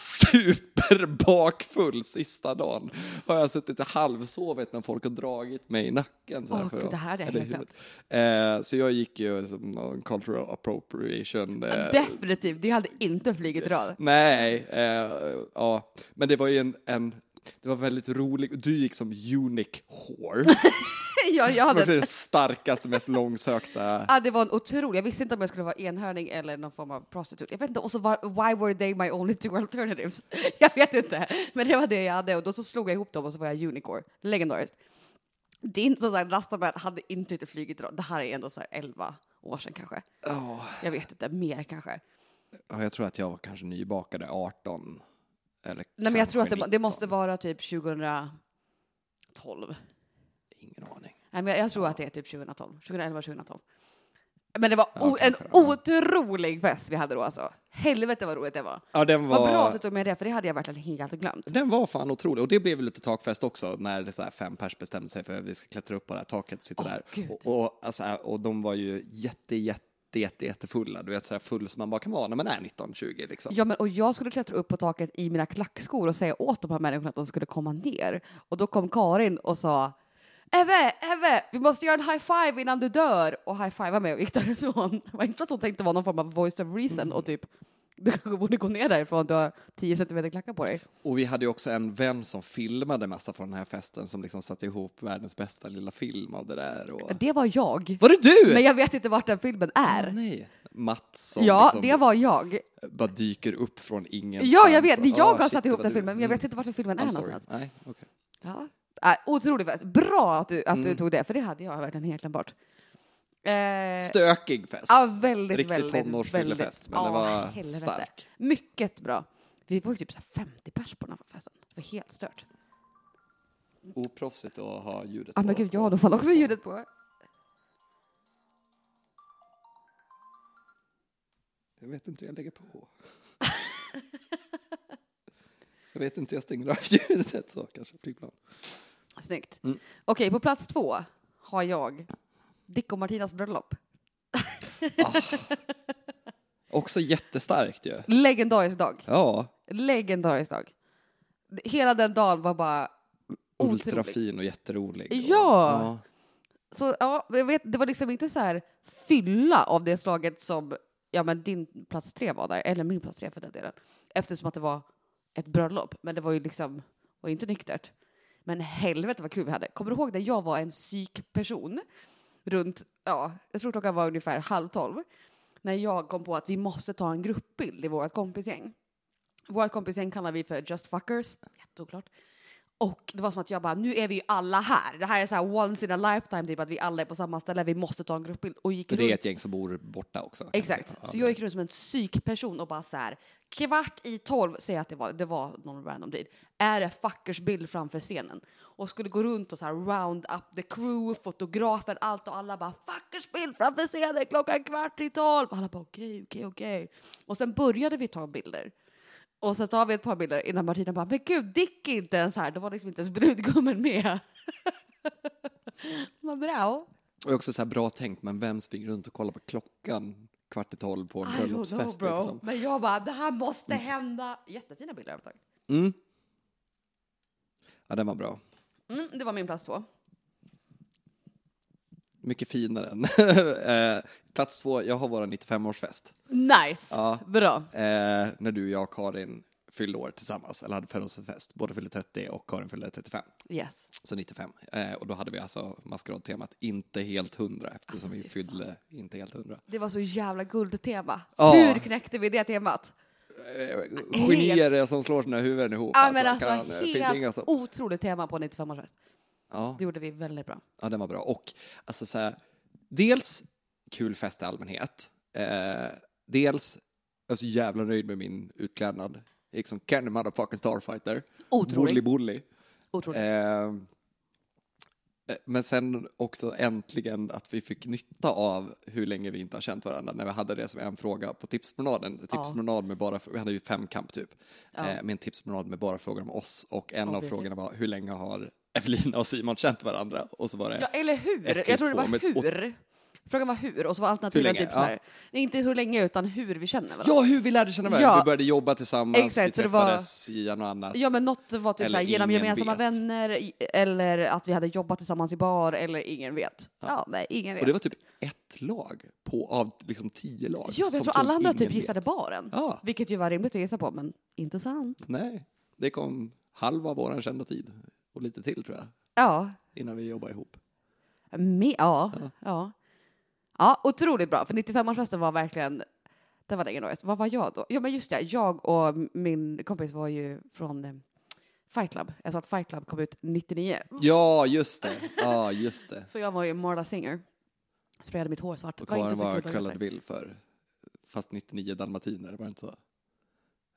[SPEAKER 2] superbakfull sista dagen. Och jag har suttit och halvsovit när folk har dragit mig i nacken. Så här
[SPEAKER 1] Åh,
[SPEAKER 2] för
[SPEAKER 1] gud,
[SPEAKER 2] att-
[SPEAKER 1] det här hade jag
[SPEAKER 2] eller
[SPEAKER 1] helt
[SPEAKER 2] huvudet. eh, Så jag gick ju som någon cultural appropriation. eh,
[SPEAKER 1] Definitivt. Det hade inte flugit idag.
[SPEAKER 2] Nej, eh, ja. Men det var ju en, en det var väldigt rolig, du gick som unique whore.
[SPEAKER 1] Ja, jag
[SPEAKER 2] Det var
[SPEAKER 1] hade...
[SPEAKER 2] det starkaste, mest långsökta.
[SPEAKER 1] Ah, det var en otrolig... Jag visste inte om jag skulle vara enhörning eller någon form av prostitut. Jag vet inte. Och så var, why were they my only two alternatives? Jag vet inte. Men det var det jag hade. Och då så slog jag ihop dem och så var jag unicorn. Legendariskt. Din som sagt, Rastaman hade inte ute flugit idag. Det här är ändå så här 11 år sedan kanske.
[SPEAKER 2] Ja,
[SPEAKER 1] Jag vet inte, mer kanske.
[SPEAKER 2] jag tror att jag var kanske nybakade 18. Eller
[SPEAKER 1] Nej, men jag
[SPEAKER 2] kanske
[SPEAKER 1] tror att det,
[SPEAKER 2] 19.
[SPEAKER 1] det måste vara typ 2012.
[SPEAKER 2] Ingen aning.
[SPEAKER 1] Nej, men jag, jag tror att det är typ 2012. 2011, 2012. Men det var
[SPEAKER 2] Ja,
[SPEAKER 1] o- en
[SPEAKER 2] kanske det, ja.
[SPEAKER 1] otrolig fest vi hade då alltså. Helvete vad roligt det var.
[SPEAKER 2] Ja, den var...
[SPEAKER 1] Vad bra att du tog med det, för det hade jag verkligen helt glömt.
[SPEAKER 2] Den var fan otrolig. Och det blev ju lite takfest också när det så här fem pers bestämde sig för att vi ska klättra upp på det här taket och sitta
[SPEAKER 1] Åh,
[SPEAKER 2] där.
[SPEAKER 1] gud.
[SPEAKER 2] Och, och, alltså, och de var ju jätte, jätte, jätte, jättefulla. Du vet, så där full som man bara kan vara när man är 19-20 liksom.
[SPEAKER 1] Ja, men, och jag skulle klättra upp på taket i mina klackskor och säga åt de här människorna att de skulle komma ner. Och då kom Karin och sa Eve, Eve, vi måste göra en high five innan du dör. Och high fivea mig och gick därifrån. Det var inte att hon tänkte vara någon form av voice of reason och typ du kanske borde gå ner därifrån, du har 10 centimeter klackar på dig.
[SPEAKER 2] Och vi hade ju också en vän som filmade massa från den här festen som liksom satte ihop världens bästa lilla film av det där. Och...
[SPEAKER 1] Det var jag.
[SPEAKER 2] Var det du?
[SPEAKER 1] Men jag vet inte vart den filmen är.
[SPEAKER 2] Nej. Mats som
[SPEAKER 1] Ja,
[SPEAKER 2] liksom
[SPEAKER 1] det var jag.
[SPEAKER 2] bara dyker upp från ingenstans.
[SPEAKER 1] Ja, jag vet. Det är jag
[SPEAKER 2] Ah,
[SPEAKER 1] som har
[SPEAKER 2] shit,
[SPEAKER 1] satt
[SPEAKER 2] det
[SPEAKER 1] ihop
[SPEAKER 2] var
[SPEAKER 1] den
[SPEAKER 2] du.
[SPEAKER 1] filmen, men jag vet inte vart den filmen är
[SPEAKER 2] I'm sorry.
[SPEAKER 1] någonstans.
[SPEAKER 2] Nej, okej.
[SPEAKER 1] Ja. Äh, otrolig fest. Bra att du, att
[SPEAKER 2] Mm.
[SPEAKER 1] du tog det, för det hade jag verkligen helt glömt bort. Eh,
[SPEAKER 2] Stökig fest.
[SPEAKER 1] ja, väldigt,
[SPEAKER 2] Riktigt
[SPEAKER 1] väldigt,
[SPEAKER 2] tonårsfyllefest, men
[SPEAKER 1] väldigt-
[SPEAKER 2] det var
[SPEAKER 1] Ja, helvete.
[SPEAKER 2] stark.
[SPEAKER 1] Mycket bra. Vi var ju typ så här 50 pers på den här festen. Det var helt stört.
[SPEAKER 2] Oproffsigt att ha ljudet
[SPEAKER 1] Ja,
[SPEAKER 2] på.
[SPEAKER 1] men gud, jag har i alla fall också ljudet på.
[SPEAKER 2] Jag vet inte hur jag lägger på. jag vet inte hur jag stänger av ljudet så kanske. Flygplan.
[SPEAKER 1] Snyggt.
[SPEAKER 2] Mm.
[SPEAKER 1] Okej, på plats två har jag Dick och Martinas bröllop.
[SPEAKER 2] Också jättestarkt ju.
[SPEAKER 1] Legendarisk dag.
[SPEAKER 2] Ja.
[SPEAKER 1] Legendarisk dag. Hela den dagen var bara Otrolig.
[SPEAKER 2] Ultrafin och jätterolig. Och,
[SPEAKER 1] Ja. Så ja, jag vet, det var liksom inte så här fylla av det slaget som ja men din plats tre var där, eller min plats tre för den delen. Eftersom att det var ett bröllop, men det var ju liksom, var ju inte nyktert. Men helvete vad kul vi hade. Kommer du ihåg när jag var en psykperson? Runt, ja, jag tror klockan var ungefär halv tolv. När jag kom på att vi måste ta en gruppbild i vårt kompisgäng. Vårt kompisgäng kallar vi för Just Fuckers. Jätteoklart. Och det var som att jag bara, nu är vi ju alla här. Det här är så här once in a lifetime, typ att vi alla är på samma ställe, vi måste ta en gruppbild. Och gick
[SPEAKER 2] För
[SPEAKER 1] runt.
[SPEAKER 2] det är ett gäng som bor borta också. kan man
[SPEAKER 1] Exakt.
[SPEAKER 2] säga. Ja,
[SPEAKER 1] Så jag gick runt som en psykperson och bara så här, kvart i tolv, säger jag att det var, det var någon random tid, är det fuckers bild framför scenen. Och skulle gå runt och så här round up the crew, fotografen, allt och alla bara fuckers bild framför scenen klockan kvart i tolv. Och alla bara okej, okej, okej. Och sen började vi ta bilder. Och så tar vi ett par bilder innan Martina bara, men gud, Dick är inte ens här. Då var liksom inte ens brudgummen med. Vad bra.
[SPEAKER 2] Och också så här bra tänkt, men vem springer runt och kollar på klockan kvart i tolv på en
[SPEAKER 1] I don't know
[SPEAKER 2] bröllopsfest?
[SPEAKER 1] bro.
[SPEAKER 2] Liksom?
[SPEAKER 1] Men jag bara, det här måste hända. Jättefina bilder har jag tagit.
[SPEAKER 2] Mm. Ja, den var bra.
[SPEAKER 1] Mm, det var min plats två.
[SPEAKER 2] Mycket finare än... Eh, Plats två, jag har vår 95-årsfest.
[SPEAKER 1] Nice.
[SPEAKER 2] Ja.
[SPEAKER 1] Bra.
[SPEAKER 2] Eh, när du, jag och Karin fyllde år tillsammans, eller hade födelsedagsfest. Både fyllde 30 och Karin fyllde 35.
[SPEAKER 1] Yes.
[SPEAKER 2] Så 95. Eh, och då hade vi alltså maskeradtemat inte helt hundra
[SPEAKER 1] Alltså,
[SPEAKER 2] eftersom vi fyllde inte helt hundra.
[SPEAKER 1] Det var så jävla guldtema.
[SPEAKER 2] Ja.
[SPEAKER 1] Hur knäckte vi det temat?
[SPEAKER 2] Eh, Genier som slår sina huvuden ihop.
[SPEAKER 1] Ja, men alltså,
[SPEAKER 2] kan- det finns inga
[SPEAKER 1] helt
[SPEAKER 2] stopp.
[SPEAKER 1] otroligt tema på 95-årsfest.
[SPEAKER 2] Ja,
[SPEAKER 1] Det gjorde vi väldigt bra.
[SPEAKER 2] ja, den var bra. Och alltså så här, dels kul fest i allmänhet. Eh, dels, jag är så jävla nöjd med min utklädnad. Jag gick som Kenny motherfucking Starfighter.
[SPEAKER 1] Otrolig.
[SPEAKER 2] Bully, bully.
[SPEAKER 1] Otroligt.
[SPEAKER 2] Eh, men sen också äntligen att vi fick nytta av hur länge vi inte har känt varandra när vi hade det som en fråga på tipspromenaden. Tipspromenad med bara, vi hade ju fem kamp typ, eh, med en tipspromenad med bara frågor om oss och en av
[SPEAKER 1] precis.
[SPEAKER 2] frågorna var hur länge har Evelina och Simon känt varandra? Och så var det,
[SPEAKER 1] Ja, eller
[SPEAKER 2] Ett
[SPEAKER 1] hur?
[SPEAKER 2] kryss
[SPEAKER 1] Jag tror det
[SPEAKER 2] två,
[SPEAKER 1] var
[SPEAKER 2] men- och-
[SPEAKER 1] hur. Frågan var hur och så var alternativen
[SPEAKER 2] länge?
[SPEAKER 1] typ så här.
[SPEAKER 2] Ja.
[SPEAKER 1] Nej, Inte hur länge utan hur vi känner varandra.
[SPEAKER 2] ja hur vi lärde känna varandra,
[SPEAKER 1] Ja.
[SPEAKER 2] vi började jobba tillsammans,
[SPEAKER 1] Exakt, så
[SPEAKER 2] vi
[SPEAKER 1] det var-
[SPEAKER 2] träffades igen och annat.
[SPEAKER 1] Ja men något var typ
[SPEAKER 2] Eller
[SPEAKER 1] såhär, genom
[SPEAKER 2] ingen
[SPEAKER 1] gemensamma
[SPEAKER 2] vet.
[SPEAKER 1] vänner i- eller att vi hade jobbat tillsammans i bar eller ingen vet. Ja, nej ingen vet.
[SPEAKER 2] Och det var typ ett lag på, av liksom tio lag.
[SPEAKER 1] ja, men
[SPEAKER 2] som
[SPEAKER 1] jag tror
[SPEAKER 2] tog
[SPEAKER 1] alla andra typ
[SPEAKER 2] ingen
[SPEAKER 1] gissade
[SPEAKER 2] vet.
[SPEAKER 1] baren.
[SPEAKER 2] Ja.
[SPEAKER 1] Vilket ju var rimligt att gissa på men inte sant.
[SPEAKER 2] Nej, det kom halva våran kända tid och lite till tror jag
[SPEAKER 1] Ja,
[SPEAKER 2] innan vi jobbade ihop.
[SPEAKER 1] me, ja, ja. ja. otroligt bra för 95-årsfesten var verkligen det var ingen ångest. Vad var jag då? Ja men just det, jag och min kompis var ju från eh, Fight Club. Jag sa att Fight Club kom ut 99.
[SPEAKER 2] Ja, just det. Ja, just det.
[SPEAKER 1] Så jag var ju Marla Singer. Sprayade mitt hår svart.
[SPEAKER 2] Och
[SPEAKER 1] Det inte
[SPEAKER 2] Karin
[SPEAKER 1] så
[SPEAKER 2] var
[SPEAKER 1] kul dagen
[SPEAKER 2] Cruella
[SPEAKER 1] efter.
[SPEAKER 2] de Vil för fast 99 dalmatiner, var det inte så?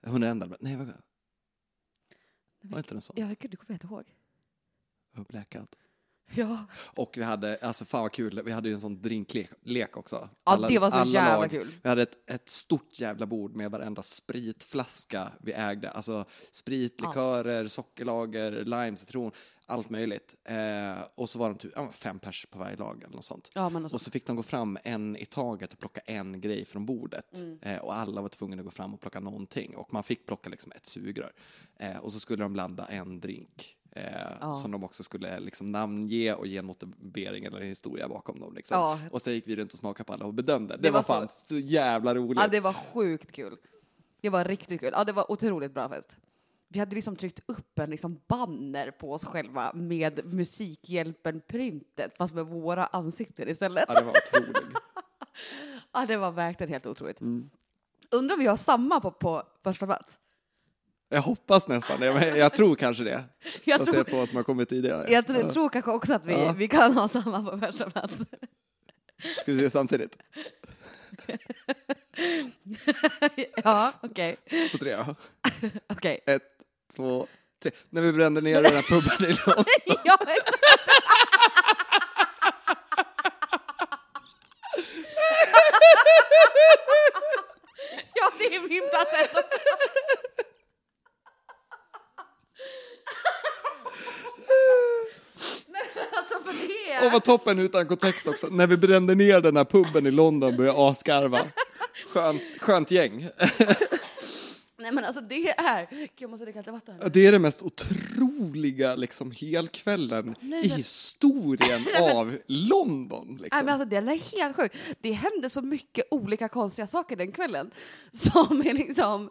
[SPEAKER 2] 101 dalmatiner, nej vad var det inte något sånt?
[SPEAKER 1] Ja, gud, det kommer jag inte ihåg.
[SPEAKER 2] Jag har Blackout.
[SPEAKER 1] Ja,
[SPEAKER 2] Och vi hade, alltså fan vad kul, vi hade ju en sån drinklek lek också.
[SPEAKER 1] Ja, det var så jävla kul.
[SPEAKER 2] Vi hade ett, ett stort jävla bord med varenda spritflaska vi ägde. Alltså sprit, likörer, sockerlager, lime, citron, allt möjligt. Eh, och så var de typ ja, fem pers på varje lag eller något sånt.
[SPEAKER 1] ja men alltså,
[SPEAKER 2] Och så fick de gå fram en i taget och plocka en grej från bordet.
[SPEAKER 1] Mm.
[SPEAKER 2] Eh, och alla var tvungna att gå fram och plocka någonting. Och man fick plocka liksom ett sugrör. Eh, och så skulle de blanda en drink. Eh, Som de också skulle liksom namnge och ge en motivering eller en historia bakom dem. Liksom.
[SPEAKER 1] Ja.
[SPEAKER 2] Och sen gick vi runt och smakade på alla och bedömde. Det,
[SPEAKER 1] Det
[SPEAKER 2] var,
[SPEAKER 1] var så-
[SPEAKER 2] fan så... jävla roligt.
[SPEAKER 1] ja, det var sjukt kul. Det var riktigt kul. Ja, det var otroligt bra fest. Vi hade liksom tryckt upp en liksom banner på oss själva med Musikhjälpen-printet, fast med våra ansikten istället.
[SPEAKER 2] Ja, det var otroligt.
[SPEAKER 1] Ja, det var verkligen helt otroligt.
[SPEAKER 2] Mm.
[SPEAKER 1] Undrar om vi har samma på, på första plats?
[SPEAKER 2] Jag hoppas nästan Jag, jag tror kanske det.
[SPEAKER 1] Jag
[SPEAKER 2] Baserat
[SPEAKER 1] tror-
[SPEAKER 2] på vad som har kommit tidigare.
[SPEAKER 1] Jag tror, tror kanske också att vi,
[SPEAKER 2] Ja.
[SPEAKER 1] vi kan ha samma på första plats.
[SPEAKER 2] Ska vi se samtidigt?
[SPEAKER 1] ja, okej.
[SPEAKER 2] På tre då.
[SPEAKER 1] Okej.
[SPEAKER 2] Ett, två, tre. När vi brände ner den här puben i Lund.
[SPEAKER 1] ja, exakt. ja, det är min plats ett också. Nej, men alltså för det.
[SPEAKER 2] Och var toppen utan kontext också. När vi brände ner den här puben i London började jag asgarva. Skönt, skönt gäng.
[SPEAKER 1] Nej men alltså det är... Gud, jag måste dricka lite vatten.
[SPEAKER 2] Ja, Det är den mest otroliga liksom, helkvällen
[SPEAKER 1] Nej,
[SPEAKER 2] i
[SPEAKER 1] men-
[SPEAKER 2] historien av London.
[SPEAKER 1] Nej,
[SPEAKER 2] Liksom.
[SPEAKER 1] men alltså, det är helt sjukt. Det hände så mycket olika konstiga saker den kvällen. Som är liksom...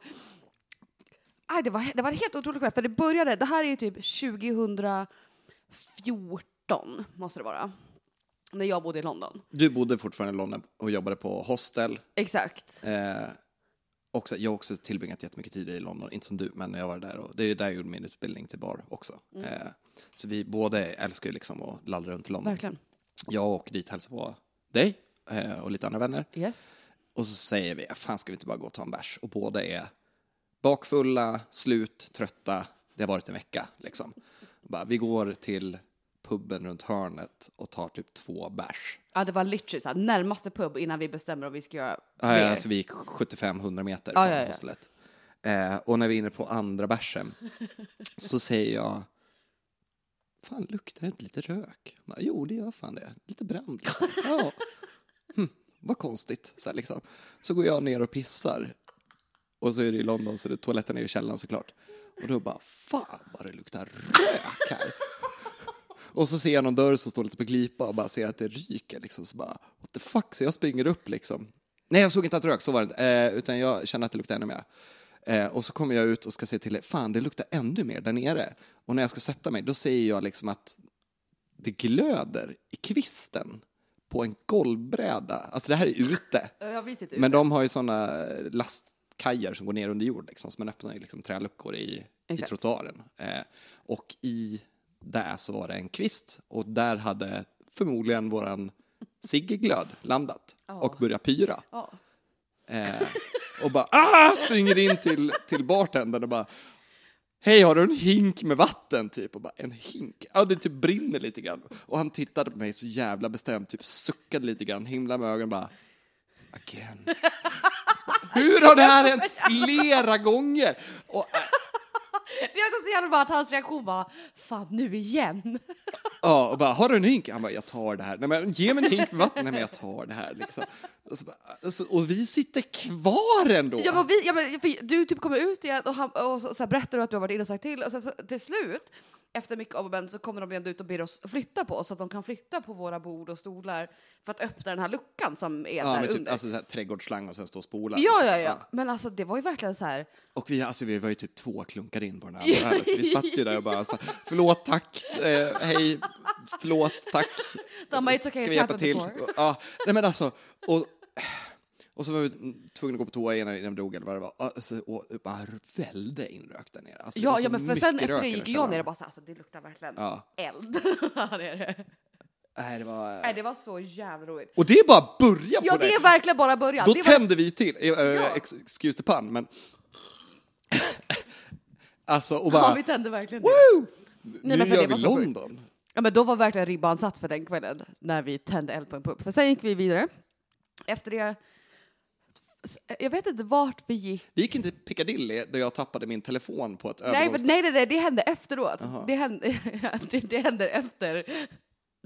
[SPEAKER 1] Aj, det, var, det var en helt otroligt kväll, för det började... Det här är ju typ 2014, måste det vara. När jag bodde i London.
[SPEAKER 2] Du bodde fortfarande i London och jobbade på hostel.
[SPEAKER 1] Exakt.
[SPEAKER 2] Eh, också, jag har också tillbringat jättemycket tid i London, inte som du, men jag var där och det är där jag gjorde min utbildning till bar också.
[SPEAKER 1] Mm.
[SPEAKER 2] Eh, så vi båda älskar ju liksom att lalla runt i London.
[SPEAKER 1] Verkligen.
[SPEAKER 2] Jag åker dit och hälsar på dig eh, och lite andra vänner.
[SPEAKER 1] Yes.
[SPEAKER 2] Och så säger vi, fan ska vi inte bara gå och ta en bärs? Och båda är bakfulla, slut, trötta. Det har varit en vecka liksom. Bara, vi går till puben runt hörnet och tar typ två bärs.
[SPEAKER 1] Ja, det var literally så här, närmaste pub innan vi bestämmer om vi ska göra
[SPEAKER 2] Ah,
[SPEAKER 1] mer. Ah,
[SPEAKER 2] ja, så vi gick 75-100 meter
[SPEAKER 1] Ja,
[SPEAKER 2] från
[SPEAKER 1] ja, ja.
[SPEAKER 2] hostelet. Eh, och när vi är inne på andra bärsen så säger jag, fan luktar det inte lite rök? Bara, jo, det gör fan det. Lite brand. Liksom. Ja. Hm, vad konstigt. Så, här, liksom. så går jag ner och pissar. Och så är det i London, så det, toaletten är i källaren såklart. Och då bara, fan vad det luktar rök här. Och så ser jag någon dörr som står lite på glipa och bara ser att det ryker liksom. Så bara, what the fuck, så jag springer upp liksom. Nej, jag såg inte att det rök, så var det inte. Eh, utan jag kände att det luktade ännu mer. Eh, och så kommer jag ut och ska se till, fan det luktar ännu mer där nere. Och när jag ska sätta mig, då ser jag liksom att det glöder i kvisten på en golvbräda. Alltså det här är ute.
[SPEAKER 1] Jag typ. har visat ut.
[SPEAKER 2] Men de har ju sådana lastkajer som går ner under jord, liksom, så man öppnar ju liksom träluckor i, i
[SPEAKER 1] Exakt.
[SPEAKER 2] trottoaren. Eh, och i där så var det en kvist och där hade förmodligen våran Siggeglöd landat och börjat pyra.
[SPEAKER 1] Ja.
[SPEAKER 2] Eh, och bara ah! springer in till, till bartendern och bara Hej, har du en hink med vatten? Typ. Och bara, en hink? Ja, det typ brinner lite grann. Och han tittade på mig så jävla bestämt, typ suckade lite grann, himlade med ögonen och bara Again. Hur har det här hänt flera gånger? Och, äh,
[SPEAKER 1] Det är också så jävla bra att hans reaktion var fan nu igen.
[SPEAKER 2] ja, och bara, har du en hink? Han bara, jag tar det här. Nej, men ge mig en hink med vatten. Nej, men jag tar det här liksom. Och, så bara, och, så, och vi sitter kvar ändå.
[SPEAKER 1] Ja, men vi, ja, men, för du typ kommer ut igen och, han, och så, så här, berättar du att du har varit inne och sagt till och sen så, till slut efter mycket om och men så kommer de ändå ut och ber oss flytta på oss så att de kan flytta på våra bord och stolar för att öppna den här luckan som är
[SPEAKER 2] Ja,
[SPEAKER 1] där
[SPEAKER 2] men typ
[SPEAKER 1] under.
[SPEAKER 2] alltså, så här, trädgårdsslang och sen stå och spola. Och
[SPEAKER 1] ja,
[SPEAKER 2] så-
[SPEAKER 1] ja, ja. Men alltså det var ju verkligen så här.
[SPEAKER 2] Och vi, alltså, vi var ju typ två klunkar in på den här ölen, så vi satt ju där och bara så, här, förlåt, tack, eh, hej, förlåt, tack.
[SPEAKER 1] Damma, it's okay,
[SPEAKER 2] Ska
[SPEAKER 1] it's
[SPEAKER 2] vi hjälpa
[SPEAKER 1] happened
[SPEAKER 2] till?
[SPEAKER 1] before.
[SPEAKER 2] Ja, nej men alltså, och, och så var vi tvungna att gå på toa innan innan vi dog eller vad det var. Alltså, och det bara välde in rök där nere. Alltså, det var
[SPEAKER 1] Ja,
[SPEAKER 2] så
[SPEAKER 1] ja men för
[SPEAKER 2] mycket
[SPEAKER 1] sen
[SPEAKER 2] rök
[SPEAKER 1] efter det
[SPEAKER 2] i den
[SPEAKER 1] gick
[SPEAKER 2] källaren.
[SPEAKER 1] jag ner och bara så här, alltså det luktar verkligen
[SPEAKER 2] Ja.
[SPEAKER 1] eld. Ja, det är det.
[SPEAKER 2] Nej, det var...
[SPEAKER 1] Nej, det var så jävla roligt.
[SPEAKER 2] Och det är bara början
[SPEAKER 1] Ja,
[SPEAKER 2] på
[SPEAKER 1] det är verkligen bara början.
[SPEAKER 2] Då
[SPEAKER 1] det var...
[SPEAKER 2] tände vi till. Eh, eh, ex- Excuse the pun, men... alltså, och bara...
[SPEAKER 1] Ja, vi tände verkligen det.
[SPEAKER 2] Woo!
[SPEAKER 1] Nej,
[SPEAKER 2] nu
[SPEAKER 1] men för
[SPEAKER 2] gör
[SPEAKER 1] det
[SPEAKER 2] vi
[SPEAKER 1] var så sjukt.
[SPEAKER 2] London.
[SPEAKER 1] Ja, men då var verkligen ribban satt för den kvällen när vi tände eld på en pub. För sen gick vi vidare. Efter det... Jag vet inte vart vi gick.
[SPEAKER 2] Vi gick inte till Piccadilly där jag tappade min telefon på ett
[SPEAKER 1] Nej, men,
[SPEAKER 2] övergångsställe.
[SPEAKER 1] nej, nej, nej, det hände efteråt. Det hände, det, det hände efter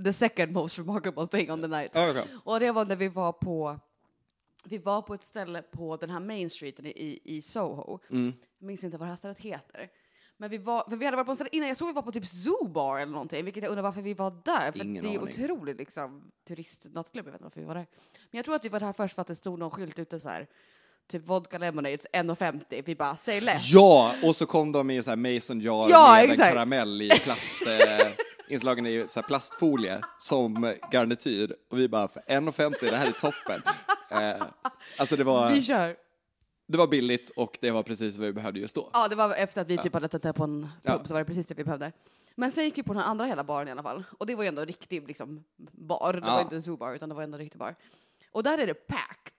[SPEAKER 1] the second most remarkable thing on the night.
[SPEAKER 2] Ja, okej.
[SPEAKER 1] Och det var när vi var på... Vi var på ett ställe på den här main streeten i, i Soho.
[SPEAKER 2] Mm.
[SPEAKER 1] Jag minns inte vad det här stället heter. Men vi, var, för vi hade varit på en ställe innan, jag tror vi var på typ Zoo Bar eller någonting, vilket jag undrar varför vi var där. För
[SPEAKER 2] Ingen
[SPEAKER 1] det är
[SPEAKER 2] aning.
[SPEAKER 1] otroligt liksom turistnattklubb, jag vet inte varför vi var där. Men jag tror att vi var där först för att det stod någon skylt ute så här, typ vodka lemonades 1,50. Vi bara, säg less.
[SPEAKER 2] Ja, och så kom de i så här mason jar
[SPEAKER 1] Ja,
[SPEAKER 2] med en
[SPEAKER 1] exakt.
[SPEAKER 2] karamell i plast, eh, inslagen i så här plastfolie som garnityr. Och vi bara, för 1,50, det här är toppen. Eh, alltså det
[SPEAKER 1] Vi
[SPEAKER 2] var,
[SPEAKER 1] kör.
[SPEAKER 2] det var billigt och det var precis vad vi behövde just då.
[SPEAKER 1] Ja, det var efter att vi typ hade tittat på en pub
[SPEAKER 2] Ja.
[SPEAKER 1] så var det precis det vi behövde. Men sen gick vi på den här andra hela baren i alla fall. Och det var ju ändå en riktig liksom, bar. Det
[SPEAKER 2] Ja.
[SPEAKER 1] var inte en zoobar utan det var ändå en riktig bar. Och där är det packed.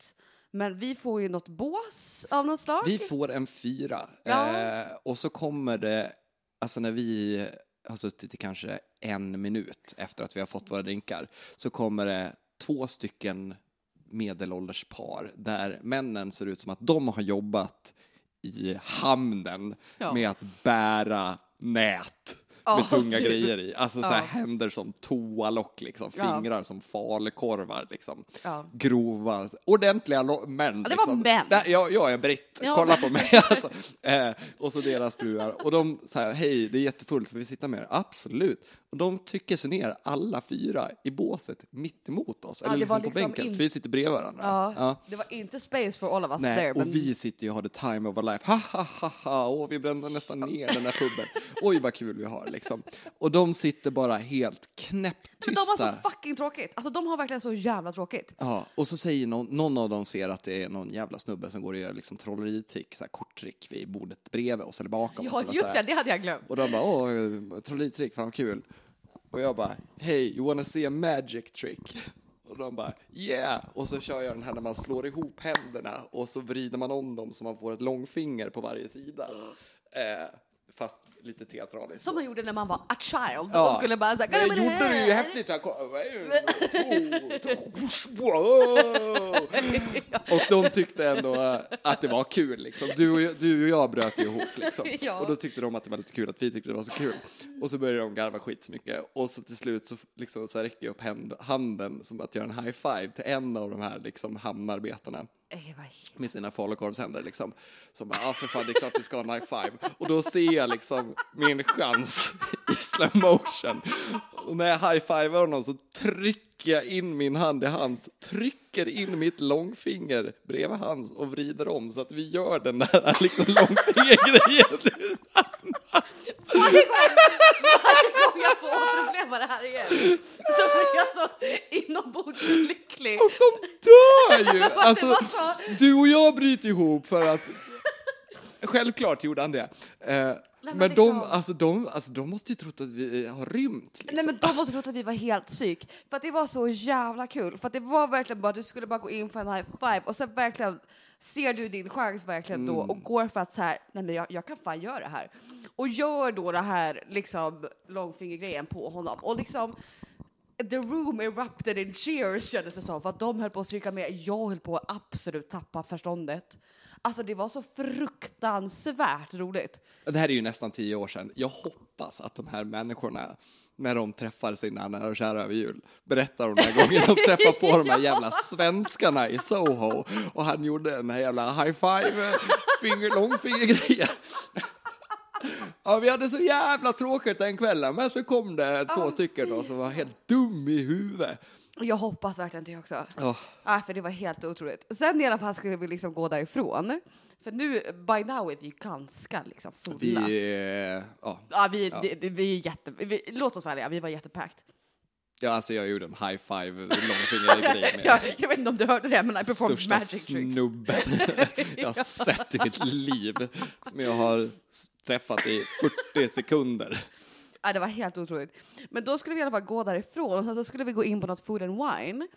[SPEAKER 1] Men vi får ju något bås av något slag.
[SPEAKER 2] Vi får en fyra.
[SPEAKER 1] Ja.
[SPEAKER 2] Eh, och så kommer det, alltså när vi har suttit i kanske en minut efter att vi har fått våra drinkar, så kommer det två stycken medelålders par där männen ser ut som att de har jobbat i hamnen
[SPEAKER 1] Ja.
[SPEAKER 2] med att bära nät
[SPEAKER 1] Ja,
[SPEAKER 2] med tunga
[SPEAKER 1] typ.
[SPEAKER 2] grejer i. Alltså så här,
[SPEAKER 1] Ja.
[SPEAKER 2] händer som toalock, liksom.
[SPEAKER 1] Ja.
[SPEAKER 2] fingrar som falukorvar. Liksom.
[SPEAKER 1] Ja.
[SPEAKER 2] Grova, ordentliga lo- män.
[SPEAKER 1] det var
[SPEAKER 2] liksom.
[SPEAKER 1] män.
[SPEAKER 2] Nej, jag, jag är britt,
[SPEAKER 1] Ja.
[SPEAKER 2] kolla på mig. Alltså. Eh, och så deras fruar. Och de så här, hej, det är jättefullt, för vi sitta med er? Absolut. Och de trycker sig ner, alla fyra, i båset mitt emot oss.
[SPEAKER 1] Ja,
[SPEAKER 2] Eller
[SPEAKER 1] det
[SPEAKER 2] liksom
[SPEAKER 1] var
[SPEAKER 2] på
[SPEAKER 1] liksom
[SPEAKER 2] bänken,
[SPEAKER 1] in-
[SPEAKER 2] för vi sitter bredvid varandra.
[SPEAKER 1] Ja.
[SPEAKER 2] Ja.
[SPEAKER 1] Det var inte space for all of us
[SPEAKER 2] Nej,
[SPEAKER 1] there. Men
[SPEAKER 2] och vi sitter ju och har the time of our life. Ha, ha, ha, ha. Åh, vi brände nästan ner den här puben. Oj, vad kul vi har liksom. Och de sitter bara helt knäpptysta.
[SPEAKER 1] men de har så fucking tråkigt. Alltså de har verkligen så jävla tråkigt.
[SPEAKER 2] Ja, och så säger någon, någon av dem ser att det är någon jävla snubbe som går och gör liksom trolleritrick, så här korttrick vid bordet bredvid oss eller bakom oss.
[SPEAKER 1] Ja
[SPEAKER 2] eller så
[SPEAKER 1] just
[SPEAKER 2] här.
[SPEAKER 1] det, det hade jag glömt.
[SPEAKER 2] Och de bara, åh, eh, trolleritrick, fan vad kul. Och jag bara, hey, you wanna see a magic trick? Och de bara, yeah! Och så kör jag den här när man slår ihop händerna och så vrider man om dem så man får ett långfinger på varje sida. Eh, fast lite teatraliskt.
[SPEAKER 1] Som man gjorde när man var a child
[SPEAKER 2] Ja.
[SPEAKER 1] och skulle bara såhär...
[SPEAKER 2] Men jag gjorde det ju häftigt! Så här, kolla, wow. Och de tyckte ändå eh, att det var kul liksom. Du och jag, du och jag bröt ihop liksom.
[SPEAKER 1] Ja.
[SPEAKER 2] Och då tyckte de att det var lite kul att vi tyckte det var så kul. Och så började de garva skitsmycket. Och så till slut så, liksom, så här räcker jag upp hand, handen som att göra en high five till en av de här liksom, hamnarbetarna
[SPEAKER 1] Eh, vad he-
[SPEAKER 2] med sina falukorvshänder liksom. Som bara, ja ah, för fan det är klart vi ska ha en high five. Och då ser jag liksom min chans i slow motion. Och när jag high-fivar honom så trycker jag in min hand i hans, trycker in mitt långfinger bredvid hans och vrider om så att vi gör den där liksom långfingergrejen.
[SPEAKER 1] Varje gång, varje gång jag får återuppleva det här igen så blir jag så inombords lycklig.
[SPEAKER 2] Och de dör ju! Alltså,
[SPEAKER 1] var
[SPEAKER 2] du och jag bryter ihop för att... Självklart gjorde han det. Eh, men
[SPEAKER 1] men
[SPEAKER 2] de,
[SPEAKER 1] liksom-
[SPEAKER 2] alltså, de, alltså, de måste ju trott att vi har rymt. Liksom.
[SPEAKER 1] Nej men de måste trott att vi var helt psyk. För att det var så jävla kul. För att det var verkligen bara, du skulle bara gå in för en high five och sen verkligen ser du din chans verkligen då och går för att så här, nej men jag, jag kan fan göra det här. Och gör då det här liksom långfingergrejen på honom och liksom The room erupted in cheers kändes det som för att de höll på att stryka med. Jag höll på att absolut tappa förståndet. Alltså det var så fruktansvärt roligt.
[SPEAKER 2] Det här är ju nästan tio år sedan. Jag hoppas att de här människorna, när de träffar sina nära och kära över jul, berättar om den här gången de träffar på de här jävla svenskarna i Soho och han gjorde den här jävla high-five, finger, långfingergrejen. Ja, vi hade så jävla tråkigt den kvällen, men så kom det två stycken då som var helt dum i huvudet.
[SPEAKER 1] Jag hoppas verkligen det också.
[SPEAKER 2] Ja.
[SPEAKER 1] Ja, Ah, för det var helt otroligt. Sen i alla fall skulle vi liksom gå därifrån. För nu, by now är vi ganska liksom fulla.
[SPEAKER 2] Vi, eh, ja,
[SPEAKER 1] ja, vi, det- det- vi är jätte... Vi, låt oss vara ärliga, vi var jättepackt.
[SPEAKER 2] ja, alltså jag gjorde en high-five, långfingergrej med
[SPEAKER 1] Jag, jag vet inte om du hörde det, men I performed
[SPEAKER 2] största
[SPEAKER 1] magic tricks.
[SPEAKER 2] snubben jag har sett i mitt liv. Som jag har s- träffat i 40 sekunder.
[SPEAKER 1] Ja, det var helt otroligt. Men då skulle vi i alla fall gå därifrån och sen så skulle vi gå in på något food and wine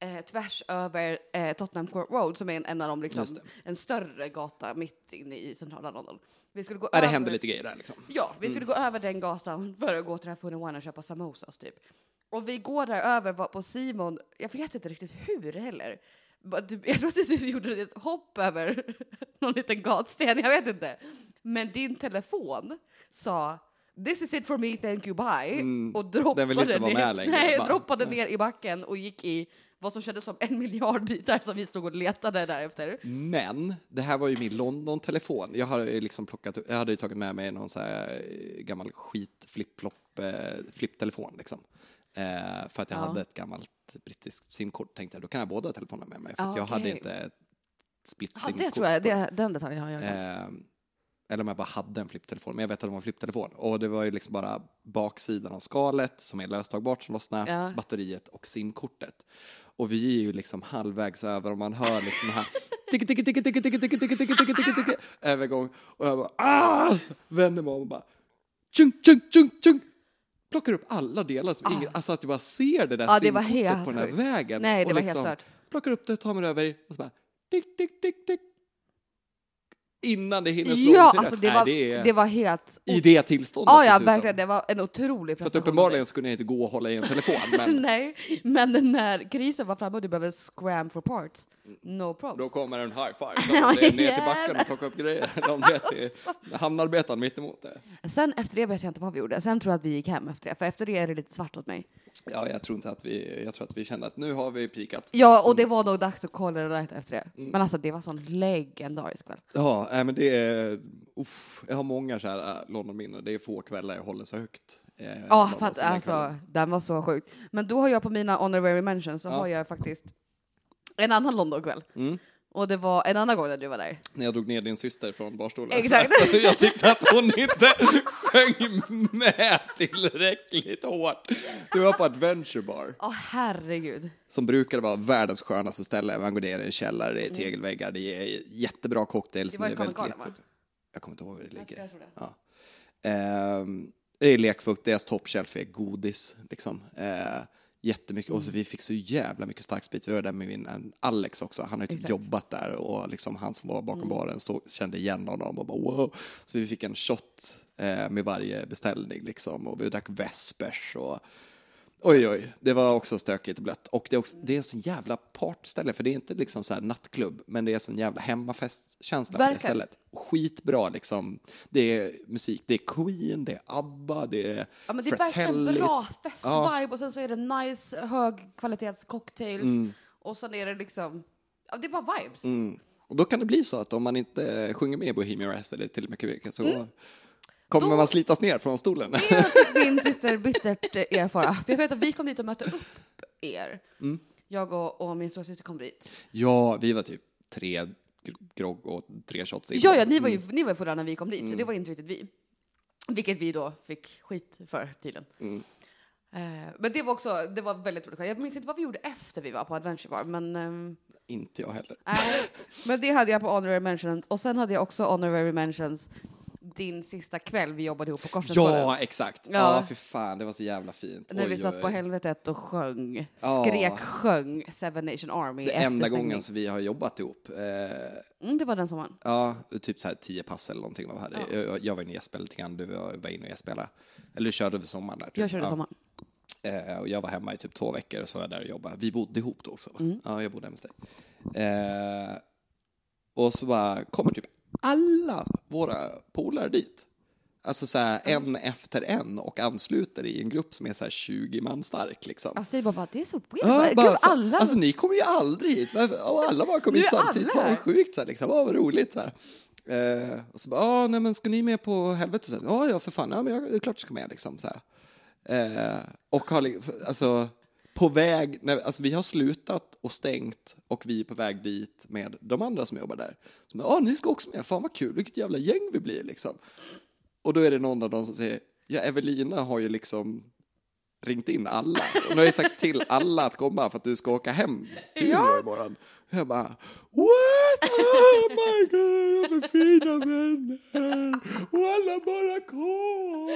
[SPEAKER 1] eh, tvärs över eh, Tottenham Court Road som är en, en av de liksom,
[SPEAKER 2] Just det.
[SPEAKER 1] en större gata mitt inne i centrala London. Vi skulle gå
[SPEAKER 2] Ja, det
[SPEAKER 1] över-
[SPEAKER 2] händer lite grejer där liksom.
[SPEAKER 1] Ja, vi skulle gå över den gatan för att gå till det här Food and Wine och köpa samosas typ. Och vi går där över var- på Simon, jag vet inte riktigt hur heller. Bara typ- Jag tror att du gjorde ett hopp över någon liten gatsten, jag vet inte. Men din telefon sa This is it for me, thank you, bye. och droppade,
[SPEAKER 2] Mm, den vill inte vara
[SPEAKER 1] ner,
[SPEAKER 2] med längre,
[SPEAKER 1] Nej,
[SPEAKER 2] bara.
[SPEAKER 1] droppade ner i backen och gick i vad som kändes som en miljard bitar som vi stod och letade därefter.
[SPEAKER 2] Men det här var ju min London-telefon. Jag hade ju liksom plockat, jag hade ju tagit med mig någon så här eh, gammal skit flip-flop, eh, flipptelefon liksom. Eh, för att jag
[SPEAKER 1] Ja.
[SPEAKER 2] hade ett gammalt brittiskt simkort. Tänkte jag, då kan jag ha båda telefonerna med mig. För
[SPEAKER 1] Ja,
[SPEAKER 2] att jag hade
[SPEAKER 1] okej.
[SPEAKER 2] inte ett
[SPEAKER 1] Ja, det
[SPEAKER 2] split-simkort.
[SPEAKER 1] tror jag, det, den detaljen har jag glömt.
[SPEAKER 2] Ehm, eller om jag bara hade en flipptelefon, men jag vet att de var en flipptelefon. Och det var ju liksom bara baksidan av skalet som är löstagbart som lossnar,
[SPEAKER 1] Ja.
[SPEAKER 2] batteriet och simkortet. Och vi är ju liksom halvvägs över och man hör liksom den här ticke, ticke, ticke, ticke, ticke, ticke, ticke, ticke, ticke, ticke, övergång. Och jag bara ah! Vänder mig om och bara tjung, tjung, tjung, tjung. Plockar upp alla delar som ingen, alltså att jag bara ser det där
[SPEAKER 1] Ah. Ja, det var
[SPEAKER 2] simkortet
[SPEAKER 1] helt
[SPEAKER 2] på den här
[SPEAKER 1] sjukt.
[SPEAKER 2] vägen.
[SPEAKER 1] Nej, det
[SPEAKER 2] och liksom
[SPEAKER 1] var helt stört.
[SPEAKER 2] Plockar upp det, tar mig över och så bara tick, tick, tick, tick innan det hinner slå
[SPEAKER 1] Ja,
[SPEAKER 2] till
[SPEAKER 1] alltså
[SPEAKER 2] rätt.
[SPEAKER 1] det
[SPEAKER 2] Nej,
[SPEAKER 1] var,
[SPEAKER 2] det är
[SPEAKER 1] det var helt...
[SPEAKER 2] i det tillståndet
[SPEAKER 1] Ja, ja,
[SPEAKER 2] dessutom.
[SPEAKER 1] verkligen. Det var en otrolig
[SPEAKER 2] För att
[SPEAKER 1] prestation. av
[SPEAKER 2] uppenbarligen skulle jag inte gå och hålla i en telefon, men
[SPEAKER 1] Nej, men när krisen var framme och du behöver scram for parts, no props.
[SPEAKER 2] då kommer en high five. Så det är ner till
[SPEAKER 1] jävlar. Alltså.
[SPEAKER 2] backen och plocka upp grejer. De vet till hamnarbetaren mittemot det.
[SPEAKER 1] Sen efter det vet jag inte vad vi gjorde. Sen tror jag att vi gick hem efter det, för efter det är det lite svart åt mig.
[SPEAKER 2] Ja, jag tror inte att vi, jag tror att vi kände att nu har vi pikat.
[SPEAKER 1] Ja, och det var nog dags att kolla det rätt efter det. Men alltså, det var sån legendarisk kväll.
[SPEAKER 2] Ja, nej, men det är, uff, jag har många så här äh, Londonminnen. Det är få kvällar jag håller så högt. eh,
[SPEAKER 1] Ja,
[SPEAKER 2] London
[SPEAKER 1] för att
[SPEAKER 2] som den
[SPEAKER 1] alltså,
[SPEAKER 2] kvällen.
[SPEAKER 1] den var så sjuk. Men då har jag på mina honorary mentions så
[SPEAKER 2] Ja.
[SPEAKER 1] har jag faktiskt en annan Londonkväll.
[SPEAKER 2] Mm.
[SPEAKER 1] Och det var en annan gång när du var där.
[SPEAKER 2] När jag drog ner din syster från barstolen.
[SPEAKER 1] Exakt.
[SPEAKER 2] Alltså, jag tyckte att hon inte sjöng med tillräckligt hårt. Du var på Adventure Bar.
[SPEAKER 1] Åh herregud.
[SPEAKER 2] som brukade vara världens skönaste ställe. Man går ner i en källare, det är tegelväggar, det är jättebra cocktails.
[SPEAKER 1] Mm. Det var
[SPEAKER 2] men
[SPEAKER 1] i
[SPEAKER 2] är väldigt
[SPEAKER 1] Covent Garden,
[SPEAKER 2] lite- Jag kommer inte ihåg hur det ligger.
[SPEAKER 1] jag tror det.
[SPEAKER 2] Ja. Ehm, det är lekfullt, deras toppshelf är godis. Liksom. Eh, jättemycket, och så vi fick så jävla mycket starksprit. Vi var där med min en Alex också, han har ju typ
[SPEAKER 1] Exakt.
[SPEAKER 2] jobbat där och liksom han som var bakom baren så, kände igen honom och bara wow. Så vi fick en shot eh, med varje beställning liksom och vi drack Vespers och Oj, oj, det var också stökigt och blött. Och det är, också, det är en sån jävla partställe, för det är inte liksom så här nattklubb, men det är en sån jävla hemmafestkänsla på det
[SPEAKER 1] Verkligen.
[SPEAKER 2] stället. Skitbra liksom. Det är musik, det är Queen, det är ABBA, det är
[SPEAKER 1] Ja, men det är verkligen
[SPEAKER 2] Fratellis.
[SPEAKER 1] bra festvibe
[SPEAKER 2] Ja,
[SPEAKER 1] och sen så är det nice högkvalitetscocktails och sen är det liksom, ja, det är bara vibes.
[SPEAKER 2] mm. Och då kan det bli så att om man inte sjunger med i Bohemian Rhapsody till och med Quebec så
[SPEAKER 1] Mm.
[SPEAKER 2] kommer man slitas ner från stolen.
[SPEAKER 1] Det fick min syster bittert eh, erfara. För jag vet att vi kom dit och mötte upp er.
[SPEAKER 2] Mm.
[SPEAKER 1] Jag och, och min storasyster kom dit.
[SPEAKER 2] ja, vi var typ tre gr- grogg och tre shots in.
[SPEAKER 1] Ja, ja, ni var ju,
[SPEAKER 2] Mm.
[SPEAKER 1] ni var ju fulla när vi kom dit, så det var inte riktigt vi. Vilket vi då fick skit för tydligen.
[SPEAKER 2] Mm.
[SPEAKER 1] Eh, Men det var också, det var väldigt roligt. Jag minns inte vad vi gjorde efter vi var på Adventure Bar, men... ehm,
[SPEAKER 2] Inte jag heller.
[SPEAKER 1] Nej, men det hade jag på honorary mentions. Och sen hade jag också honorary mentions din sista kväll vi jobbade ihop på Korsnäsgården.
[SPEAKER 2] Ja, exakt. Ja,
[SPEAKER 1] Ja.
[SPEAKER 2] för fan, det var så jävla fint.
[SPEAKER 1] När vi
[SPEAKER 2] Oj,
[SPEAKER 1] satt
[SPEAKER 2] oj,
[SPEAKER 1] på
[SPEAKER 2] oj.
[SPEAKER 1] helvetet och sjöng,
[SPEAKER 2] Ja.
[SPEAKER 1] skrek, sjöng Seven Nation Army.
[SPEAKER 2] Det
[SPEAKER 1] efter
[SPEAKER 2] enda
[SPEAKER 1] stängning.
[SPEAKER 2] gången som vi har jobbat ihop. Eh,
[SPEAKER 1] Mm, det var den sommaren.
[SPEAKER 2] ja, typ så här tio pass eller någonting. Var här. Jag, jag var inne och gästspelade lite grann, du var var inne och gästspelade. Eller du körde över sommaren där. Typ.
[SPEAKER 1] Jag körde
[SPEAKER 2] ja.
[SPEAKER 1] sommaren.
[SPEAKER 2] Eh, och jag var hemma i typ två veckor och så var jag där och jobbade. Vi bodde ihop då också. Va?
[SPEAKER 1] Mm.
[SPEAKER 2] Ja, jag bodde hemma hos dig. Eh, och så bara kommer typ alla våra polare dit. Alltså så här, en efter en och ansluter i en grupp som är så här 20 man stark liksom.
[SPEAKER 1] Jag säger bara, bara, det är så weird.
[SPEAKER 2] Ja,
[SPEAKER 1] Gud,
[SPEAKER 2] bara, fan,
[SPEAKER 1] alla...
[SPEAKER 2] Alltså ni kommer ju aldrig hit. Varför- Och alla bara kom
[SPEAKER 1] Nu
[SPEAKER 2] hit
[SPEAKER 1] är alla
[SPEAKER 2] samtidigt.
[SPEAKER 1] här.
[SPEAKER 2] Fan vad sjukt. Så här, liksom. Åh, vad roligt. Så här. Eh, och så bara, ah, nej men ska ni med på helvetet? Så här, Ja, ja för fan. Ja, men jag, det är klart jag ska med liksom. Så här. Eh, och har li- alltså på väg, när, alltså vi har slutat och stängt och vi är på väg dit med de andra som jobbar där. Så bara, ah, ni ska också med. Fan vad kul. Vilket jävla gäng vi blir liksom. Och då är det någon av dem som säger, ja Evelina har ju liksom ringt in alla. Och nu har jag sagt till alla att komma för att du ska åka hem till
[SPEAKER 1] Ja.
[SPEAKER 2] Umeå imorgon. Och jag bara, what? Oh my god, vad fina vänner! Och alla bara kom!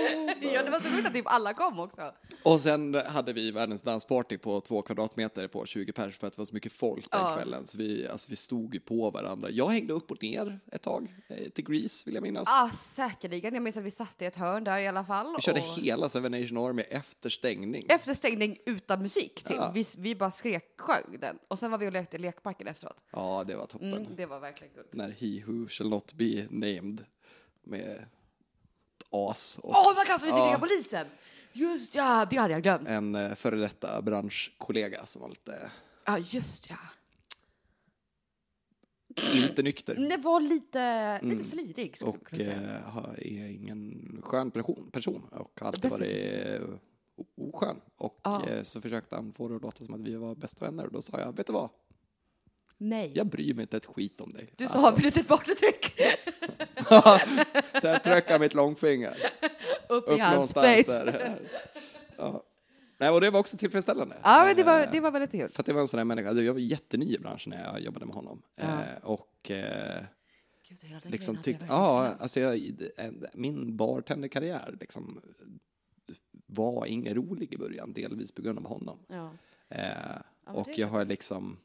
[SPEAKER 1] Ja, det var så roligt att typ alla kom också.
[SPEAKER 2] Och sen hade vi världens dansparty på två kvadratmeter på 20 pers för att det var så mycket folk den
[SPEAKER 1] Ja.
[SPEAKER 2] kvällen. Så vi, alltså, vi stod ju på varandra. Jag hängde upp och ner ett tag, eh, till Grease vill jag minnas.
[SPEAKER 1] Ah, säkerligen. Jag minns att vi satt i ett hörn där i alla fall.
[SPEAKER 2] Vi körde
[SPEAKER 1] och-
[SPEAKER 2] hela Seven Nation Army efter stängning.
[SPEAKER 1] Efter stängning utan musik. Till.
[SPEAKER 2] Ja.
[SPEAKER 1] Vi, vi bara skrek, sjöng den. Och sen var vi och lekte i lekparken efteråt.
[SPEAKER 2] Ja, det var toppen.
[SPEAKER 1] Mm, det var verkligen guld.
[SPEAKER 2] när He Who Shall Not Be Named med ett as och
[SPEAKER 1] Åh, man kan så inte
[SPEAKER 2] Ja.
[SPEAKER 1] ringa polisen! Just ja, det hade jag glömt.
[SPEAKER 2] en eh, före detta branschkollega som var lite,
[SPEAKER 1] Ja, just ja.
[SPEAKER 2] inte nykter
[SPEAKER 1] Det var lite, lite slirig skulle man
[SPEAKER 2] Mm. och
[SPEAKER 1] kunna säga.
[SPEAKER 2] eh, har- är ingen skön person, person och har alltid varit eh, o- oskön. Och
[SPEAKER 1] Ja.
[SPEAKER 2] eh, så försökte han få det att låta som att vi var bästa vänner och då sa jag, vet du vad,
[SPEAKER 1] Nej.
[SPEAKER 2] jag bryr mig inte ett skit om dig. Alltså.
[SPEAKER 1] Du sa plus ett partytryck
[SPEAKER 2] Så jag tryckte mitt långfinger
[SPEAKER 1] upp i
[SPEAKER 2] upp
[SPEAKER 1] hans
[SPEAKER 2] någonstans
[SPEAKER 1] face.
[SPEAKER 2] där. Ja. Nej, och det var också tillfredsställande.
[SPEAKER 1] Ja, men det var,
[SPEAKER 2] Eh,
[SPEAKER 1] det var väldigt kul.
[SPEAKER 2] För att det var en sån där människa, jag var jätteny i branschen när jag jobbade med honom. Eh, och eh,
[SPEAKER 1] Gud, hela den grejen
[SPEAKER 2] liksom
[SPEAKER 1] hade jag
[SPEAKER 2] tyckte,
[SPEAKER 1] verkligen
[SPEAKER 2] ja,
[SPEAKER 1] glömt.
[SPEAKER 2] alltså jag, en- min bartenderkarriär liksom var ingen rolig i början, delvis på grund av honom.
[SPEAKER 1] Ja.
[SPEAKER 2] Eh,
[SPEAKER 1] men
[SPEAKER 2] och
[SPEAKER 1] det är
[SPEAKER 2] jag har liksom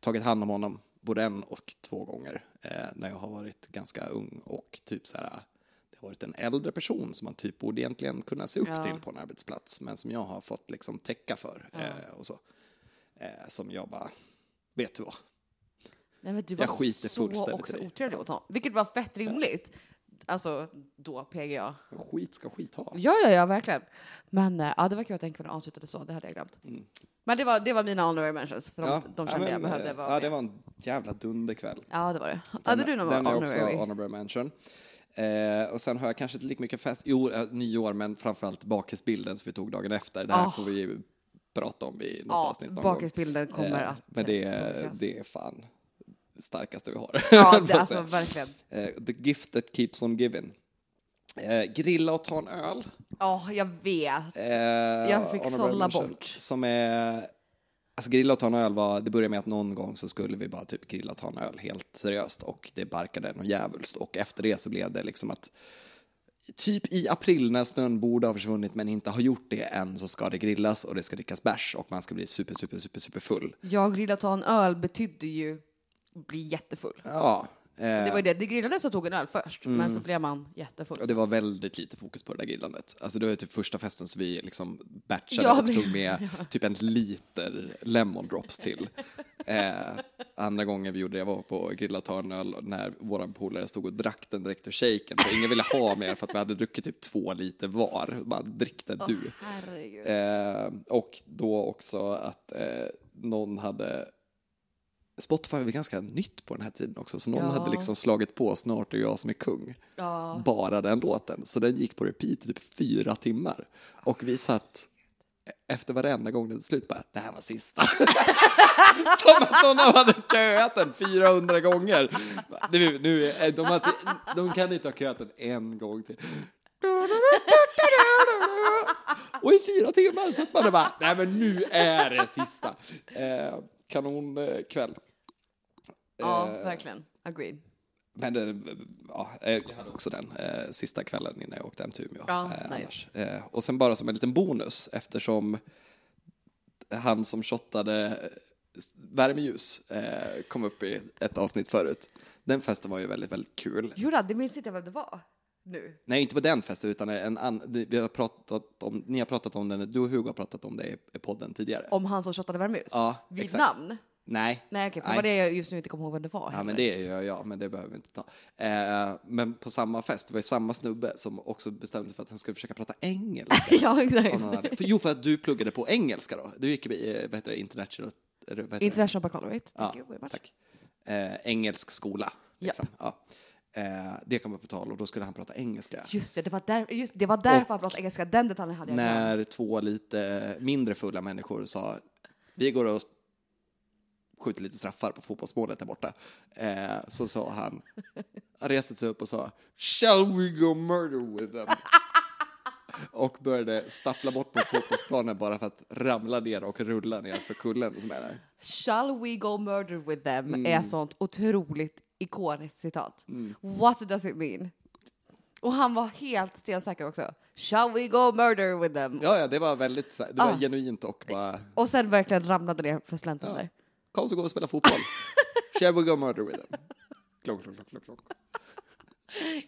[SPEAKER 2] tagit hand om honom både en och två gånger eh, när jag har varit ganska ung och typ så här, det har varit en äldre person som man typ borde egentligen kunna se upp
[SPEAKER 1] Ja.
[SPEAKER 2] till på en arbetsplats, men som jag har fått liksom täcka för eh, och så. Eh, som jag bara, vet du vad?
[SPEAKER 1] Nej, men du var
[SPEAKER 2] Jag skiter
[SPEAKER 1] så
[SPEAKER 2] fullständigt
[SPEAKER 1] också
[SPEAKER 2] i dig.
[SPEAKER 1] otrevlig mot honom. Vilket var fett rimligt. Alltså, då PGA.
[SPEAKER 2] Skit ska skit ha.
[SPEAKER 1] Ja, ja, ja, verkligen. Men eh, ja, det var kul att den kvällen avslutades så. Det hade jag glömt. Men det var, det var mina honorary mentions. För de, de kände
[SPEAKER 2] men,
[SPEAKER 1] jag behövde
[SPEAKER 2] eh,
[SPEAKER 1] vara
[SPEAKER 2] Mm. Ja,
[SPEAKER 1] med.
[SPEAKER 2] det var en jävla dunderkväll.
[SPEAKER 1] Ja, det var det. Hade du någon
[SPEAKER 2] den är också
[SPEAKER 1] honorary?
[SPEAKER 2] honorable mention. Eh, och sen har jag kanske inte lika mycket fest, jo, eh, nyår, men framförallt bakisbilden som vi tog dagen efter. Det här
[SPEAKER 1] Ah.
[SPEAKER 2] får vi ju prata om i något
[SPEAKER 1] Ja,
[SPEAKER 2] avsnitt någon gång.
[SPEAKER 1] bakisbilden kommer
[SPEAKER 2] Eh,
[SPEAKER 1] att...
[SPEAKER 2] Men det är,
[SPEAKER 1] publiceras.
[SPEAKER 2] det är fan det starkaste vi har.
[SPEAKER 1] Ja,
[SPEAKER 2] får
[SPEAKER 1] det,
[SPEAKER 2] jag
[SPEAKER 1] alltså
[SPEAKER 2] säga.
[SPEAKER 1] verkligen.
[SPEAKER 2] Eh, The gift that keeps on giving. Eh, grilla och ta en öl.
[SPEAKER 1] Ja, jag vet.
[SPEAKER 2] Eh,
[SPEAKER 1] Jag fick
[SPEAKER 2] honorable
[SPEAKER 1] sålla
[SPEAKER 2] mention,
[SPEAKER 1] bort.
[SPEAKER 2] Som är... Alltså grilla och ta en öl var, det började med att någon gång så skulle vi bara typ grilla och ta en öl helt seriöst och det barkade något djävulskt och efter det så blev det liksom att typ i april när snön borde ha försvunnit men inte har gjort det än så ska det grillas och det ska drickas bärs och man ska bli super super super super full.
[SPEAKER 1] Jag grillade och ta en öl betydde ju bli jättefull.
[SPEAKER 2] Ja. eh,
[SPEAKER 1] Det var ju det, det grillades och tog en öl först, men så blev man jättefull.
[SPEAKER 2] Och Mm. det var väldigt lite fokus på det där grillandet. Alltså det var ju typ första festen som vi liksom batchade
[SPEAKER 1] Ja,
[SPEAKER 2] och
[SPEAKER 1] men-
[SPEAKER 2] tog med typ en liter lemon drops till. Eh, andra gången vi gjorde det var på grilla och ta en öl när våran polare stod och drack den direkt ur shaken. För ingen ville ha mer för att vi hade druckit typ två liter var. Bara drick den du.
[SPEAKER 1] Herregud.
[SPEAKER 2] Eh, och då också att eh, någon hade Spotify var ganska nytt på den här tiden också, så någon
[SPEAKER 1] Ja.
[SPEAKER 2] hade liksom slagit på Snart är jag som är kung
[SPEAKER 1] Ja.
[SPEAKER 2] bara den låten. Så den gick på repeat i typ fyra timmar. Och vi satt efter varenda gång den slut bara, det här var sista. Som att någon av hade köat den 400 gånger. Bara, Nu, nu, är- eh, de, har, inte- de kan inte ha köat den en gång till. Och i fyra timmar satt man och bara, nej men nu är det sista. Eh, Kanonkväll.
[SPEAKER 1] ja,
[SPEAKER 2] eh,
[SPEAKER 1] verkligen. Agreed.
[SPEAKER 2] Men eh, ja, eh, jag hade också den eh, sista kvällen innan jag åkte hem till Umeå.
[SPEAKER 1] Ja,
[SPEAKER 2] eh,
[SPEAKER 1] nice.
[SPEAKER 2] annars. Eh, och sen bara som en liten bonus eftersom han som shottade eh, värmeljus eh, kom upp i ett avsnitt förut. Den festen var ju väldigt, väldigt kul.
[SPEAKER 1] Jodå, det minns inte jag vem det var nu.
[SPEAKER 2] Nej, inte på den festen utan en annan. Vi har pratat om, ni har pratat om den, du och Hugo har pratat om det i- i podden tidigare.
[SPEAKER 1] Om han som tjottade värmeljus?
[SPEAKER 2] Ja,
[SPEAKER 1] Vid
[SPEAKER 2] exakt.
[SPEAKER 1] namn?
[SPEAKER 2] Nej.
[SPEAKER 1] Nej, okej, för det var det jag just nu inte kommer ihåg vem det var.
[SPEAKER 2] Ja, men det gör jag, men det behöver vi inte ta. Eh, men på samma fest, det var ju samma snubbe som också bestämde sig för att han skulle försöka prata engelska.
[SPEAKER 1] ja,
[SPEAKER 2] Av någon
[SPEAKER 1] exakt.
[SPEAKER 2] anledning. för, jo, för att du pluggade på engelska då. Du gick i, eh, vad heter det, international... eller Vad heter det?
[SPEAKER 1] International Baccalaureate. Thank you very
[SPEAKER 2] ja,
[SPEAKER 1] much.
[SPEAKER 2] tack. Eh, engelsk skola. Liksom. Ja. Eh, det kom upp på tal och då skulle han prata engelska.
[SPEAKER 1] Just det, det var, där, just, det var därför han pratade engelska. Den detaljen hade jag glömt.
[SPEAKER 2] När två lite mindre fulla människor sa vi går och skjuter lite straffar på fotbollsmålet där borta. Eh, så sa han, han reste sig upp och sa Shall we go murder with them? Och började stappla bort på fotbollsplanen bara för att ramla ner och rulla ner för kullen som är där.
[SPEAKER 1] Shall we go murder with them är sånt otroligt ikoniskt citat. What does it mean? Och han var helt stensäker också. Shall we go murder with them?
[SPEAKER 2] Ja, ja, det var väldigt så här- det var
[SPEAKER 1] Ah.
[SPEAKER 2] genuint och bara
[SPEAKER 1] Och sen verkligen ramlade ner för slänten där.
[SPEAKER 2] kom så går vi och spela fotboll. Shall we go murder with them? Klonk, klonk, klonk, klonk, klonk.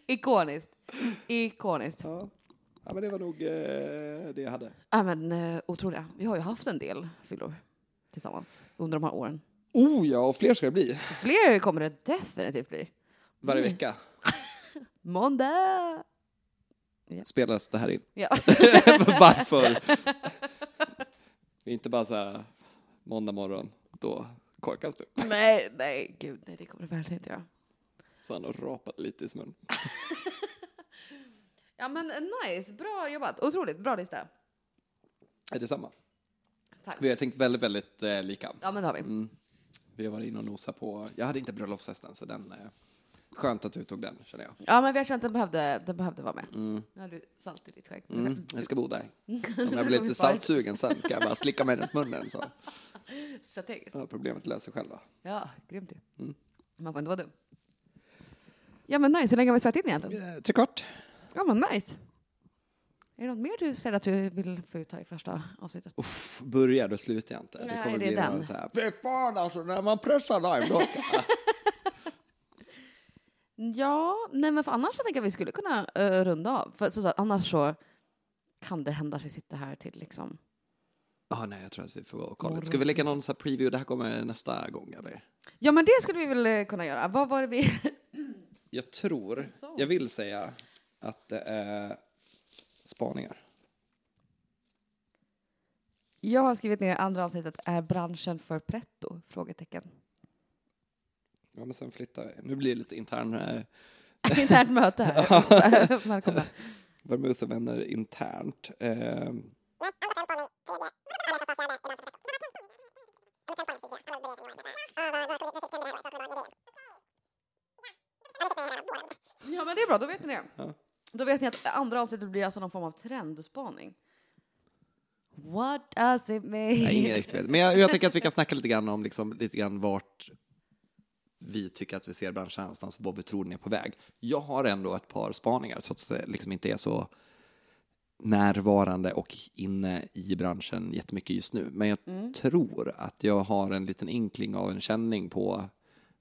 [SPEAKER 1] Ikoniskt. Ikoniskt. Ja.
[SPEAKER 2] Ja. ja, men det var nog eh, det jag hade.
[SPEAKER 1] men eh, otroliga. Vi har ju haft en del fyllor tillsammans under de här åren.
[SPEAKER 2] Oh ja, och fler ska det bli.
[SPEAKER 1] Fler kommer det definitivt bli.
[SPEAKER 2] Varje vecka
[SPEAKER 1] Måndag!
[SPEAKER 2] spelas det här in.
[SPEAKER 1] Ja.
[SPEAKER 2] Varför? Det är inte bara så här måndag morgon, då korkas du.
[SPEAKER 1] nej, nej, gud, nej, det kommer det verkligen inte göra.
[SPEAKER 2] Så han har rapat lite i smunnen.
[SPEAKER 1] Ja, men eh, nice. Bra jobbat. Otroligt bra lista.
[SPEAKER 2] Är det samma?
[SPEAKER 1] Tack.
[SPEAKER 2] Vi har tänkt väldigt, väldigt eh, lika. Mm.
[SPEAKER 1] Ja, men det har vi.
[SPEAKER 2] Vi har varit inne och nosat på, jag hade inte bröllopsfesten så den, eh, skönt att du tog den känner jag. Mm,
[SPEAKER 1] Ja, men vi har känt att den behövde, den behövde vara med. Nu har du salt i ditt skägg.
[SPEAKER 2] Jag ska bo där. Om jag blir lite saltsugen sen ska jag bara slicka mig runt munnen så
[SPEAKER 1] Strategiskt.
[SPEAKER 2] har problemet löser sig själva.
[SPEAKER 1] Ja, grymt ju.
[SPEAKER 2] Mm.
[SPEAKER 1] Man får inte vara dum. Ja, men nice. Hur länge har vi spelat in egentligen?
[SPEAKER 2] Eh, Trekvart.
[SPEAKER 1] Ja, men nice. Är det något mer du säger att du vill få ut här i första avsnittet?
[SPEAKER 2] Uff, börjar då slutar jag inte.
[SPEAKER 1] Nej,
[SPEAKER 2] det kommer
[SPEAKER 1] det är
[SPEAKER 2] bli
[SPEAKER 1] den.
[SPEAKER 2] någon så här, fy fan alltså, när man pressar live då ska...
[SPEAKER 1] Ja, nej men för annars så tänker jag att vi skulle kunna eh, runda av. För så, så, att annars så kan det hända att vi sitter här till liksom.
[SPEAKER 2] Ja, nej, jag tror att vi får gå och kolla. Ska vi lägga någon så här preview? Det här kommer nästa gång, eller?
[SPEAKER 1] Ja, men det skulle vi väl eh, kunna göra. Vad var det vi...
[SPEAKER 2] Jag tror, jag vill säga att det är spaningar.
[SPEAKER 1] Jag har skrivit ner i andra avsnittet, är branschen för pretto? Frågetecken.
[SPEAKER 2] Ja, men sen flyttar vi. Nu blir det lite intern... eh,
[SPEAKER 1] Internt möte här. Välkomna.
[SPEAKER 2] Vermouth och vänner internt. Ehm,
[SPEAKER 1] Ja, men det är bra. Då vet ni det.
[SPEAKER 2] Ja.
[SPEAKER 1] Då vet ni att andra avsnittet blir alltså någon form av trendspaning. What does it mean?
[SPEAKER 2] Nej, ingen riktigt vet. Men jag, jag tänker att vi kan snacka lite grann om liksom, lite grann vart vi tycker att vi ser branschen någonstans och vad vi tror den är på väg. Jag har ändå ett par spaningar så att det liksom inte är så närvarande och inne i branschen jättemycket just nu. Men jag tror att jag har en liten inkling av en känning på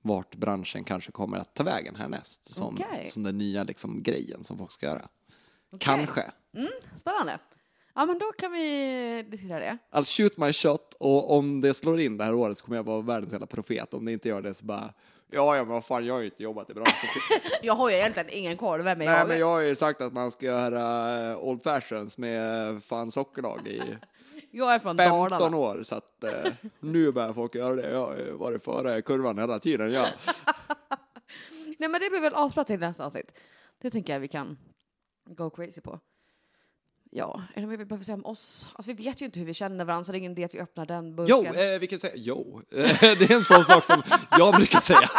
[SPEAKER 2] vart branschen kanske kommer att ta vägen härnäst som,
[SPEAKER 1] Okej.
[SPEAKER 2] som den nya liksom, grejen som folk ska göra. Kanske.
[SPEAKER 1] Spännande. Ja, men då kan vi diskutera det.
[SPEAKER 2] I'll shoot my shot och om det slår in det här året så kommer jag vara världens jävla profet. Om det inte gör det så bara, ja ja men vad fan jag har ju inte jobbat i branschen.
[SPEAKER 1] Jag har ju egentligen ingen koll. Vem är
[SPEAKER 2] Nej
[SPEAKER 1] jag?
[SPEAKER 2] men jag har ju sagt att man ska göra eh, Old Fashions med fan sockerlag i
[SPEAKER 1] Jag är från
[SPEAKER 2] 15
[SPEAKER 1] Dalarna.
[SPEAKER 2] år så att eh, nu börjar folk göra det. Jag har ju varit före kurvan hela tiden. Ja.
[SPEAKER 1] Nej, men det blir väl asbra till nästa avsnitt. Det tänker jag vi kan go crazy på. Ja, är det mer vi behöver säga om oss? Alltså, vi vet ju inte hur vi känner varandra, så det är ingen idé att vi öppnar den burken.
[SPEAKER 2] Jo, eh, vi kan säga jo. Eh, det är en sån sak som jag brukar säga.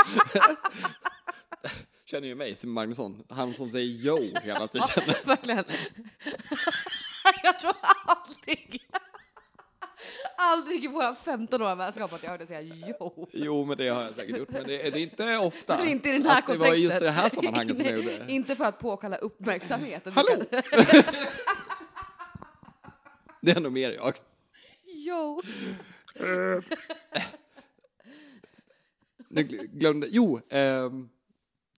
[SPEAKER 2] Känner ju mig, Simon Magnusson, han som säger jo hela tiden.
[SPEAKER 1] Verkligen. jag tror aldrig, aldrig i våra 15 år av vänskap att jag hörde säga jo.
[SPEAKER 2] Jo, men det har jag säkert gjort. Men det, det är inte ofta.
[SPEAKER 1] Det är inte i den här
[SPEAKER 2] att det
[SPEAKER 1] kontexten.
[SPEAKER 2] var just i det här sammanhanget som jag
[SPEAKER 1] Nej,
[SPEAKER 2] gjorde.
[SPEAKER 1] Inte för att påkalla uppmärksamhet.
[SPEAKER 2] Hallå! Det är nog mer jag.
[SPEAKER 1] Jo.
[SPEAKER 2] Nu gl- glömde... Jo, ehm,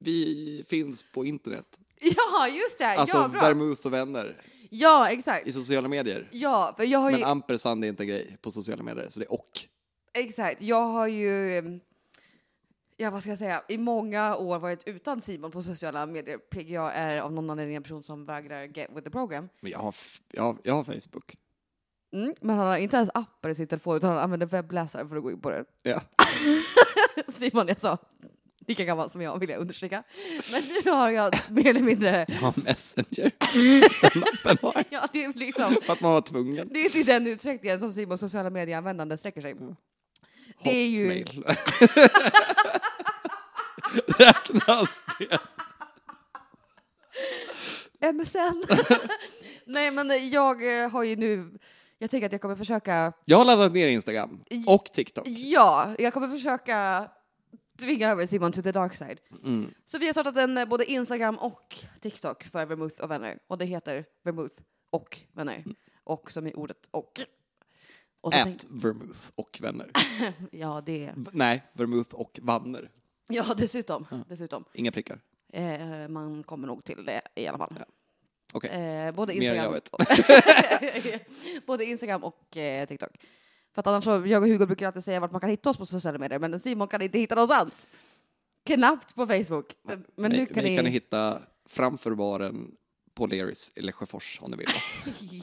[SPEAKER 2] vi finns på internet.
[SPEAKER 1] Ja, just det.
[SPEAKER 2] Alltså,
[SPEAKER 1] ja, bra.
[SPEAKER 2] Vermouth och vänner
[SPEAKER 1] Ja, exakt.
[SPEAKER 2] i sociala medier.
[SPEAKER 1] Ja, för jag har ju,
[SPEAKER 2] Men ampersand är inte en grej på sociala medier, så det är och.
[SPEAKER 1] exakt. Jag har ju, em, ja vad ska jag säga, i många år varit utan Simon på sociala medier. PGA är av någon anledning en person som vägrar get with the program.
[SPEAKER 2] Men jag har, f- jag har, jag har Facebook.
[SPEAKER 1] Mm, men han har inte ens appar i sin telefon utan han använder webbläsare för att gå in på den.
[SPEAKER 2] Ja.
[SPEAKER 1] Simon, jag sa lika gammal som jag vill jag understryka. Men nu har jag mer eller mindre,
[SPEAKER 2] Jag har Messenger.
[SPEAKER 1] ja det är liksom,
[SPEAKER 2] För att man var tvungen.
[SPEAKER 1] det är till den utsträckningen som Simons sociala medieanvändande sträcker sig. Det är ju,
[SPEAKER 2] Hotmail. Räknas det?
[SPEAKER 1] MSN. Nej men jag eh, har ju nu, jag tänker att jag kommer försöka,
[SPEAKER 2] Jag har laddat ner Instagram och TikTok.
[SPEAKER 1] ja, jag kommer försöka tvinga över Simon to the dark side.
[SPEAKER 2] Mm.
[SPEAKER 1] Så vi har startat en eh, både Instagram och TikTok för Vermouth och vänner. Och det heter Vermouth och vänner. Och som i ordet och. och så tänk-
[SPEAKER 2] Ät vermouth och vänner.
[SPEAKER 1] ja, det,
[SPEAKER 2] V- Nej, vermouth och vanner.
[SPEAKER 1] ja, dessutom. dessutom.
[SPEAKER 2] Inga prickar.
[SPEAKER 1] Eh, man kommer nog till det i alla fall.
[SPEAKER 2] Okej.
[SPEAKER 1] Eh, både
[SPEAKER 2] Mer än
[SPEAKER 1] Instagram,
[SPEAKER 2] jag vet.
[SPEAKER 1] både Instagram och eh, TikTok. För att annars så, jag och Hugo brukar alltid säga vart man kan hitta oss på sociala medier, men Simon kan inte hitta någonstans. Knappt på Facebook. Men nu
[SPEAKER 2] Mig-
[SPEAKER 1] kan
[SPEAKER 2] mig
[SPEAKER 1] ni...
[SPEAKER 2] kan ni hitta framför baren på Leris i Lesjöfors om ni vill.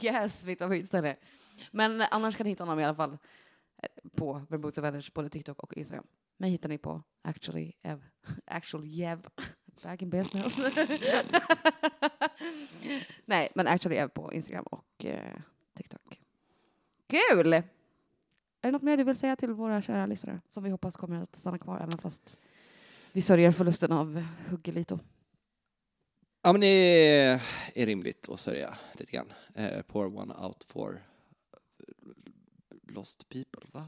[SPEAKER 1] Yes, mitt favoritställe. Men annars kan ni hitta honom i alla fall eh, på Vermouth Avengers, både TikTok och Instagram. Mig hittar ni på actually ev, actual jev, back in business. Nej, men actually ev på Instagram och eh, TikTok. Kul! Är det något mer du vill säga till våra kära lyssnare som vi hoppas kommer att stanna kvar även fast vi sörjer förlusten av Huggelito?
[SPEAKER 2] ja, men det är- är rimligt att sörja lite grann. Eh, pour one out for lost people, va?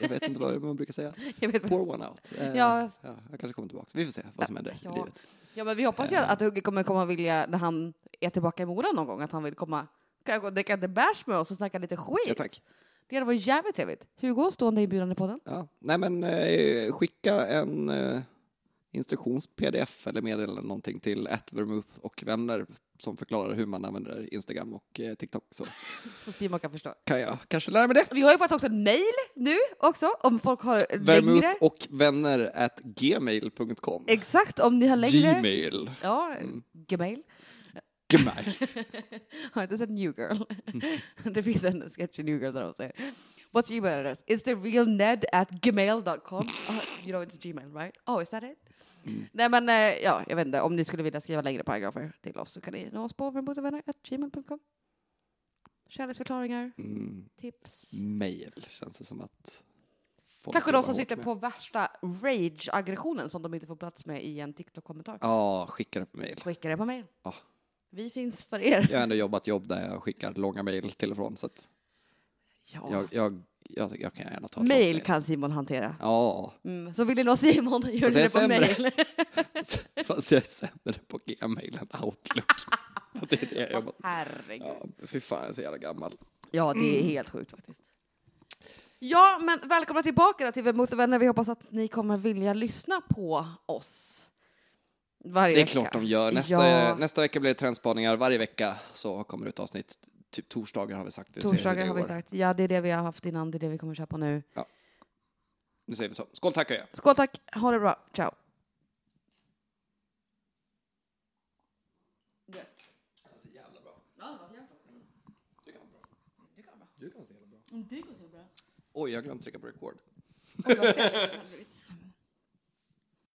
[SPEAKER 2] jag vet inte vad man brukar säga.
[SPEAKER 1] Jag vet
[SPEAKER 2] Pour one out. Eh,
[SPEAKER 1] Ja.
[SPEAKER 2] jag kanske kommer tillbaka. Vi får se vad som händer
[SPEAKER 1] Ja.
[SPEAKER 2] i livet.
[SPEAKER 1] Ja, men vi hoppas ju att Hugge kommer komma vilja, när han är tillbaka i Mora någon gång, att han vill komma kan jag gå och dricka lite bärs med oss och snacka lite skit.
[SPEAKER 2] Ja, tack.
[SPEAKER 1] Det hade varit jävligt trevligt. Hugo, stående inbjudan i podden.
[SPEAKER 2] Ja. Nej, men eh, skicka en eh, instruktions-pdf eller meddelande någonting till vermouth och vänner som förklarar hur man använder Instagram och eh, TikTok. Så
[SPEAKER 1] Så Simon kan förstå.
[SPEAKER 2] kan jag kanske lära mig det.
[SPEAKER 1] Vi har ju fått också en mail nu också, om folk har längre.
[SPEAKER 2] Vermouth och vänner at gmail.com.
[SPEAKER 1] Exakt, om ni har längre.
[SPEAKER 2] Gmail.
[SPEAKER 1] Ja, Gmail.
[SPEAKER 2] Gmail.
[SPEAKER 1] Har inte sett New Girl?
[SPEAKER 2] Mm.
[SPEAKER 1] det finns en sketch i New Girl där de säger What's your email address? Is the real Ned at gmail.com? Ah, you know it's Gmail right? Oh is that it?
[SPEAKER 2] Mm.
[SPEAKER 1] Nej men eh, ja, jag vet inte. Om ni skulle vilja skriva längre paragrafer till oss så kan ni nå oss på vermouthvänner.gmail.com. Kärleksförklaringar,
[SPEAKER 2] Mm,
[SPEAKER 1] tips.
[SPEAKER 2] mail känns det som att... folk
[SPEAKER 1] Kanske de
[SPEAKER 2] jobbar
[SPEAKER 1] som
[SPEAKER 2] hårt
[SPEAKER 1] sitter
[SPEAKER 2] med.
[SPEAKER 1] på värsta rage-aggressionen som de inte får plats med i en TikTok-kommentar.
[SPEAKER 2] Ja, skicka det på mail.
[SPEAKER 1] Skicka det på mail.
[SPEAKER 2] Ja.
[SPEAKER 1] Vi finns för er.
[SPEAKER 2] Jag har ändå jobbat jobb där jag skickar långa mail till och från så att
[SPEAKER 1] Ja.
[SPEAKER 2] jag, jag, jag, jag kan gärna ta ett långt
[SPEAKER 1] Mail kan Simon hantera.
[SPEAKER 2] Ja,
[SPEAKER 1] Mm. Så vill ni nå Simon, gör
[SPEAKER 2] Fast jag
[SPEAKER 1] ni
[SPEAKER 2] är
[SPEAKER 1] det på
[SPEAKER 2] sämre.
[SPEAKER 1] mail.
[SPEAKER 2] fast jag är sämre på gmail än outlook. det är det jag jobbat
[SPEAKER 1] Herregud.
[SPEAKER 2] Ja, fy fan, jag är så jävla gammal.
[SPEAKER 1] Ja, det är helt sjukt faktiskt. Mm. Ja, men välkomna tillbaka då till Mot och vänner. Vi hoppas att ni kommer vilja lyssna på oss. Varje
[SPEAKER 2] Det är
[SPEAKER 1] vecka.
[SPEAKER 2] klart de gör. Nästa,
[SPEAKER 1] ja,
[SPEAKER 2] nästa vecka blir det trendspaningar. Varje vecka så kommer det ett avsnitt. Typ torsdagar har vi sagt. Vi får se hur
[SPEAKER 1] torsdagar
[SPEAKER 2] det
[SPEAKER 1] har vi
[SPEAKER 2] går.
[SPEAKER 1] sagt. Ja, det är det vi har haft innan. Det är det vi kommer köra på nu.
[SPEAKER 2] Nu säger vi så. Skål, tack och jag.
[SPEAKER 1] Skål tack. Ha det bra. Ciao. Gött. Ja, det var så jävla bra. Du kan vara bra.
[SPEAKER 2] Du kan se jävla bra.
[SPEAKER 1] Du kan vara bra.
[SPEAKER 2] Oj, jag glömde trycka på record.
[SPEAKER 1] Om jag ser det. Herregud.